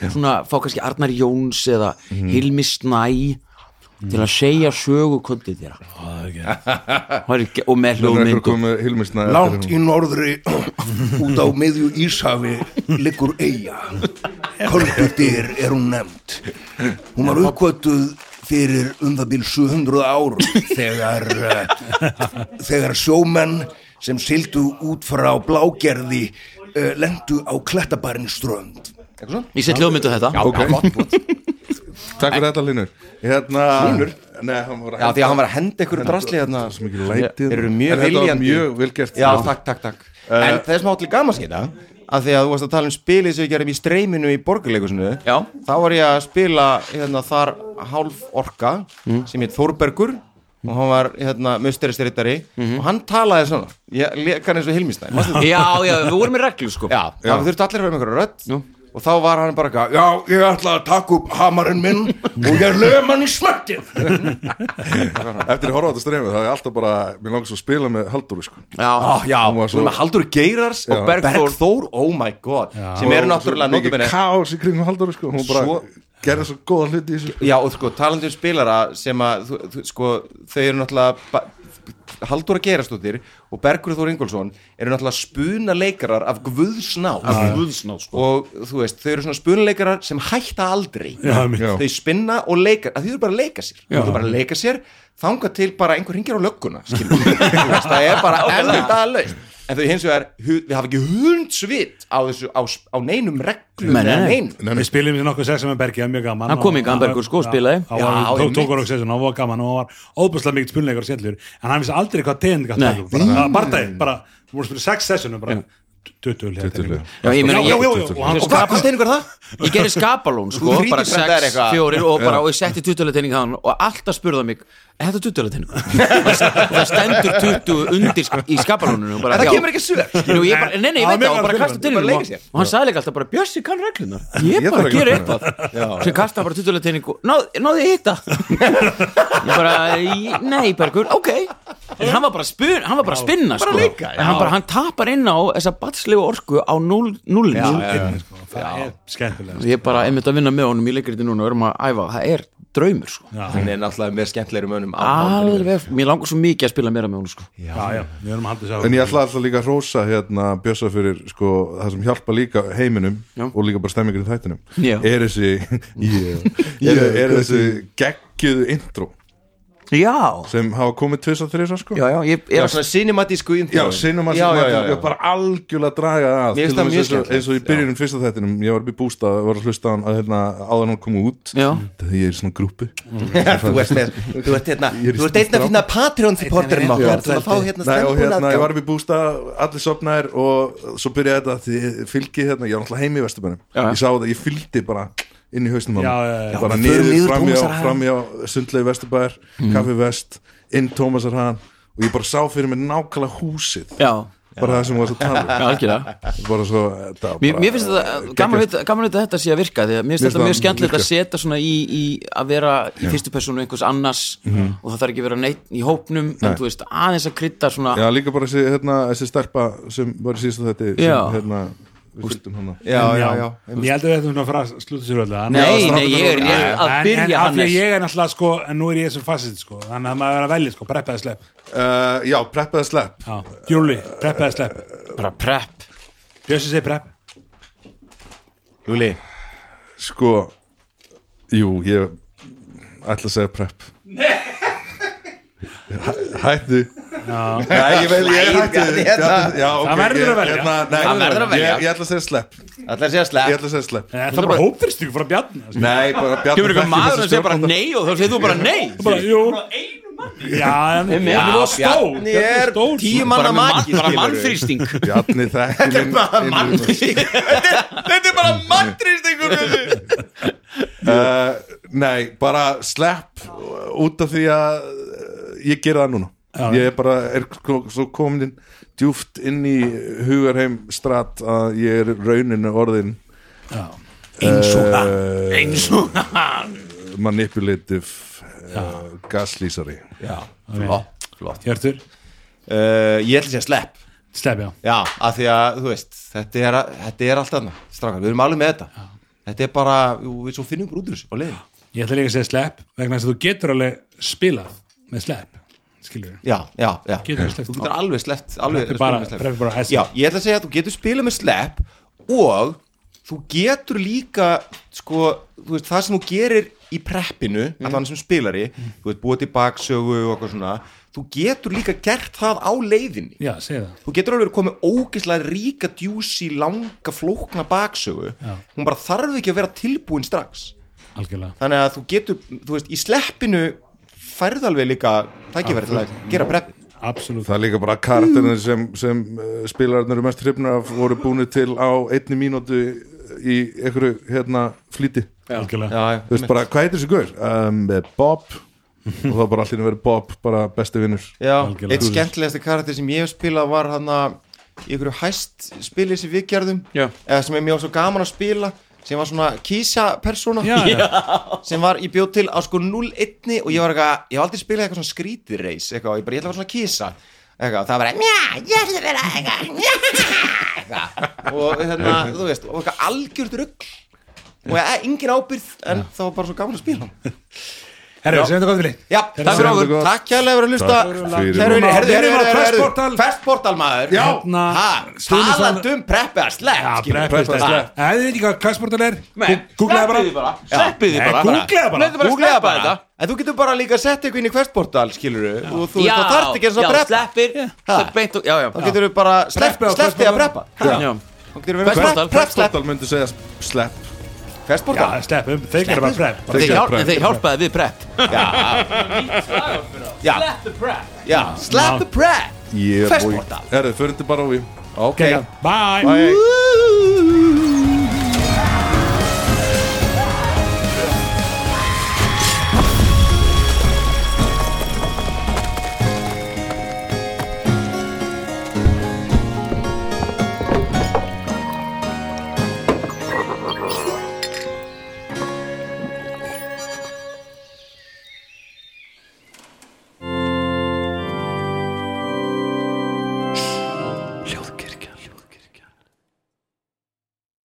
B: svona fá kannski Arnar Jóns eða Hilmi Snæ til að segja sögu kvöldið þér og með
E: Nú er einhver
B: hljóðmynd og-
E: komið hilmisna hérna.
H: Langt í norðri [CLEARS THROAT] út á miðju Íshafi liggur eiga Kolbyrdir er hún nefnd Hún var uppkvötuð fyrir um það bíl 700 árum þegar, uh, þegar sjómenn sem sildu út frá blágerði uh, lendu á klettabarinn strönd
B: ég set hljóðmynd á þetta
E: Ok Takk fyrir þetta Linur Hérna Linur? Nei, hann var að
D: Já, því að hann var að henda einhverju drasli hérna
E: Svo mikið lætið
D: Þeir eru mjög
E: En Þetta var
D: viljandi.
E: mjög vel gert Eh,
D: Já, takk, takk, takk En það er smá allir gaman skita að því að þú varst að tala um spilið sem við gerum í streyminu í borgarleikusinu
B: Já.
D: Þá var ég að spila hérna, þar hálf orka sem heit Þórbergur og hann var hérna, mösteristrittari og hann talaði svona ég leka hann eins og Hilmistæn Já,
B: já, já, við vorum í reglu sko
D: Já. það þurfti allir að vera með einhverju rödd
B: Jú.
D: og þá var hann bara eitthvað
H: Já, ég ætla að taka upp hamarinn
D: [LAUGHS]
H: minn og ég lögum hann í smertið
E: Eftir að horfa á þetta strefið Það er alltaf bara Mér langar svo að spila með Halldóru sko
B: já.
D: Ah, Já,
E: Hún var
D: svo...
E: svo-
D: með Haldur Geirars og
B: Bergþór.
D: Bergþór, oh my god sem eru náttúrulega
E: Svo mikið
D: nótuminni
E: kaos í kringum Halldóru sko Hún bara
D: Svo-
E: gerði svo góða hluti í þessu sko.
D: Já, og sko, talandi um spilara sem að, þú, þú, sko, þau eru náttúrulega ba- Halldóra Geirastóttir og Bergur Þór Ingólfsson eru náttúrulega spuna leikarar af guðsná
B: Guðsná, sko.
D: og þú veist, þau eru svona spuna leikarar sem hætta aldrei
A: Já, mitt.
E: Já.
D: þau spinna og leika, að þau eru bara að leika sér þau eru bara að leika sér, þanga til bara einhver ringir á lögguna, skiljum
B: [LAUGHS]
D: það er bara enda laust en þau hins vegar, hu- við hafa ekki hundsvit á þessu, á, s- á neinum reglum
B: Nei, nei,
D: eða
B: nei.
D: neinum
A: Við spilum í nokkuð sexi með Bergi, það er mjög gaman
B: Hann kom hingað, hann Bergur, sko, og spilaði.
A: Já, hann
D: Já,
A: tók-
D: einmitt.
A: tók hann okkur sexin, hann var gaman og hann var óbúslega mikið spunleikar og skellur en hann vissi aldrei hvað teginn gætt
B: Nei.
A: að bara, barndagi, bara, við vorum að spila sex sessunum bara, 20 hliða
E: 20 hliða.
A: teikningar.
B: Já, ég
A: Já,
B: meina,
A: já, já, já,
B: ég,
A: og hann
D: og hvað, hvað steiningur það?
B: ég gerði skapalón sko,
D: Þú þrítur
B: bara
D: þetta er
B: 6,
D: eitthvað.
B: 4 og bara og ég setti 20 tenning hann og alltaf spurða mig er þetta 20 tenning? [LAUGHS] og það stendur 20 undir sk- í skapalóninu og bara,
D: En það
B: já.
D: kemur ekki svör
B: Nú, ég bara, nei, nei, ég
A: Það
B: veit
A: er
B: það,
A: mjög
B: og bara
A: alveg
B: kasta
A: skiljanlegt.
B: tenningnum
D: Bara leika
B: og,
D: sér.
B: og hann sagði líka alltaf bara, Bjössi kann reglunar ég
E: Ég
B: bara
E: þarf ekki að
B: ger
E: kunna.
B: eitthvað sem kasta bara 20 tenningu, náði ég hitta ég bara, í- nei Bergur ok, en hann var bara að spuna hann var bara að spinna, sko,
D: leika,
B: en hann bara, hann tapar inn á þessa batslegu orku á 0 0
A: Einnig, sko, það er skemmtilega
B: ég er bara einmitt að vinna með honum í leikriti núna og erum að æfa, það er draumur sko.
D: hann er náttúrulega með skemmtlegri mönnum
B: alveg, mér langar svo mikið að spila meira með honum sko.
A: Já, já, við erum að halda þessu
E: En ég ætla alltaf líka að rósa hérna Bjössa fyrir sko það sem hjálpa líka heiminum
B: Já.
E: og líka bara stemmingur í þættinum
B: Já.
E: er þessi yeah. er, [LAUGHS] er þessi geggjuðu intro
B: já,
E: sem hafa komið tvisa þrisa sko
B: já, já, ég
D: já,
B: er að
D: svona cinematísku intro
E: Já, sinum að
D: já, já, já, já.
E: bara algjörlega draga það að.
D: Mér
E: Til
D: finnst það
E: dæmis eins og-
D: mjög skemmtilegt.
E: eins og í byrjunum fyrsta þættinum, ég var upp í bústa var að hlusta á hann að hérna áðan hann kom út
B: Já.
E: þegar ég er í svona grúpi
D: þú ert með þú ert hérna
E: Ég er í
D: þú ert einn að
E: strákum.
D: finna Patreon supporterin okkar til að fá hérna
E: Nei, og
D: stemmuna
E: hérna, ég var upp í bústa, allir sopnaðir og svo byrjaði þetta því ég fylgi hérna, ég var náttúrulega heim í Vesturbænum
B: Já, já.
E: ég sá þetta, ég fylgdi bara inn í hausnum á
A: Já,
E: mér.
A: já, já.
E: bara
D: Já, við
E: niður,
D: förum niður
E: framjá,
D: Mm. Tómasarhagann.
E: framjá sundlegu Vesturbæjar, kaffi vest inn Tómasarhagan og ég bara sá fyrir mig nákvæmlega húsið
B: já,
E: bara það sem var svo
B: já,
E: talið
B: algjörlega
E: um. bara svo, þetta var
B: Mér,
E: bara
B: mér finnst þetta gaman, að vita- gaman að vita að þetta sé að virka því að mér finnst
E: Mér
B: þetta
E: finnst
B: mjög
E: það
B: skemmtilegt að
E: virka.
B: setja svona í, í að vera í fyrstu personu einhvers annars og það þarf ekki að vera neitt í hópnum en þú veist aðeins að krydda svona
E: já, líka bara þessi, hérna, þessi stelpa sem var í síðasta þetta sem,
B: Já.
E: hérna, við fylgdum hana
D: já, já, já
A: Ég heldur þetta svona að fara að slúta sér öllu
B: Nei, nei, ég er rétt að
A: En-
B: byrja,
A: en af því
B: Hannes.
A: að ég er náttúrulega sko, en nú er ég sem fasist sko, þannig að maður er að velja sko, preppaði slepp
E: uh, já, preppaði slepp
A: Já. Júli, preppaði slepp
B: bara prep
A: Bjössi segir prepp
D: Lúli
E: Sko Jú, ég ætla að segja prep [LAUGHS] Hæ- Hættu Nei, ég vel, ég hættu
D: hérna.
E: Já, ok,
A: Það verður
E: ég-
A: að velja.
E: hérna, nei,
D: Það verður að velja.
E: Ég, ég ætla að segja slepp
D: ætla að segja
E: Ég
D: slepp
E: ætla að segja slepp
A: Er það bara hóptrýsting frá Bjarni? Sko?
E: Nei, bara bjarnum
B: kemur ykkur maður að segja bara nei og þá segir þú bara nei
A: Bara, jú Já, en
B: Já,
A: Bjarni var stór
D: Bjarni
A: Bjarni var
D: er
A: stór
D: tíu
A: sko.
B: bara,
D: manna
B: með,
D: maki
B: mann- bara
D: skilurðu.
B: mannþrýsting
E: [LAUGHS] Bjarni þekkir inn- inn-
D: þetta er bara mandristingur
E: Uh, Nei, bara slepp út af því að eh, ég gera það núna ég er bara er ko- svo komin inn, djúft inn í hugarheim strat að ég er rauninu orðin eins og það eins og það eh, manipulative uh, gaslýsari
A: Hjörtur
D: uh, ég ætla sér að slepp
F: Slepp, já
D: já, af því að, þú veist, þetta er, þetta er allt annað, strákar, við erum alveg með þetta þetta er bara, jú, við svo finnum bara út úr þessu á leiðin,
A: Ég ætla líka að segja slepp vegna þess að þú getur alveg spilað með slepp skilur
D: já, já, já
A: Getur þú sleppt?
D: þú getur alveg sleppt alveg
A: Preppi bara-
D: spilað með slepp.
A: preppi bara S.
D: já, ég ætla að segja að þú getur spilað með slepp og þú getur líka sko, þú veist, það sem þú gerir í preppinu, mm. allan sem spilari
A: Mm.
D: þú veist, búið til baksögu og eitthvað svona þú getur líka gert það á leiðinni
A: Já, segja það
D: þú getur alveg komið ógeðslega ríka djúsi langa flókna baksögu
A: Já.
D: hún bara þarf ekki að vera tilbúin strax
A: algjörlega
D: þannig að þú getur, þú veist, í sleppinu færð alveg líka tækifæri til að gera preppi
A: Absolutt
E: Það er líka bara karakterin sem, sem uh, spilararnir eru mest hrifnir af voru búinu til á einni mínútu í einhverju hérna flýti
A: Algjörlega
D: já,
E: Þú veist bara, hvað heitir þessi guður? Um, Bob og þá bara allir verið Bob, bara besti vinnur
D: já
A: Algjörlega.
D: eitt skemmtilegasti karakter sem ég hef spilað var hann að í einhverju hæst spili sem við gerðum
B: Já.
D: eða sem er mjög svo gaman að spila sem var svona kísa persóna
F: Já, já.
D: sem var, ég bjóð til á sko 0-1 og ég var eitthvað, ég hef aldrei spilað eitthvað svona skrítið reis eitthvað, og ég bara, ég ætla að vera svona kísa eitthvað, það var bara, mjá, ég ætla að vera eitthvað, mjá eitthvað. og hérna, þú veist, og eitthvað algjört rugg og ég, engin ábyrð en það var bara svo gaman að spila hann.
A: Herru, segjum þetta gott fyrir
D: já, takk fyrir
E: Sjáðu
D: okkur,
E: gott.
D: takk kærlega fyrir að hlusta
E: Takk fyrir.
D: Kæru vinir, herðu, herðu,
A: Vinum á
D: herðu,
A: Prestportal.
D: herðu, festportal maður
A: Já.
D: ha,
A: Stuðningsmann-
D: talandi um preppi
A: Já,
D: að slepp skilur.
A: preppið
E: preppa.
A: slepp Ef þið veit ekki hvað klassportal er Googlaði bara
B: sleppið því bara sleppið því
A: Nei,
B: bara
A: googlaðu bara.
B: Nei, þetta bara
D: Googlaðu
B: sleppa þetta
D: en þú getur bara líka að setja eitthvað inn í questportal skiluru, og þú
B: Já,
D: veist, þá þarft ekki eins og
B: já,
D: að preppa
B: sleppir það er beint og- já, já
D: þá getur við bara slepp-
A: Preppa á
D: sleppt því að
A: preppa.
D: preppa
B: Já.
D: þá getur við verið
B: Preppa.
D: prepp, prepp, slepp
E: Prepstortal myndi segja slepp
A: Já,
D: Festportal
A: sleppum Þeir gerir bara prepp
B: Þeir
E: Þeir
B: hjálp-
E: prep.
B: þeir hjálpaði við prep
D: Já. Já, slap the prep
E: yeah,
D: Prepsportal.
E: Herðu, fyrir þetta bara á við
A: Ok, bye
E: Bye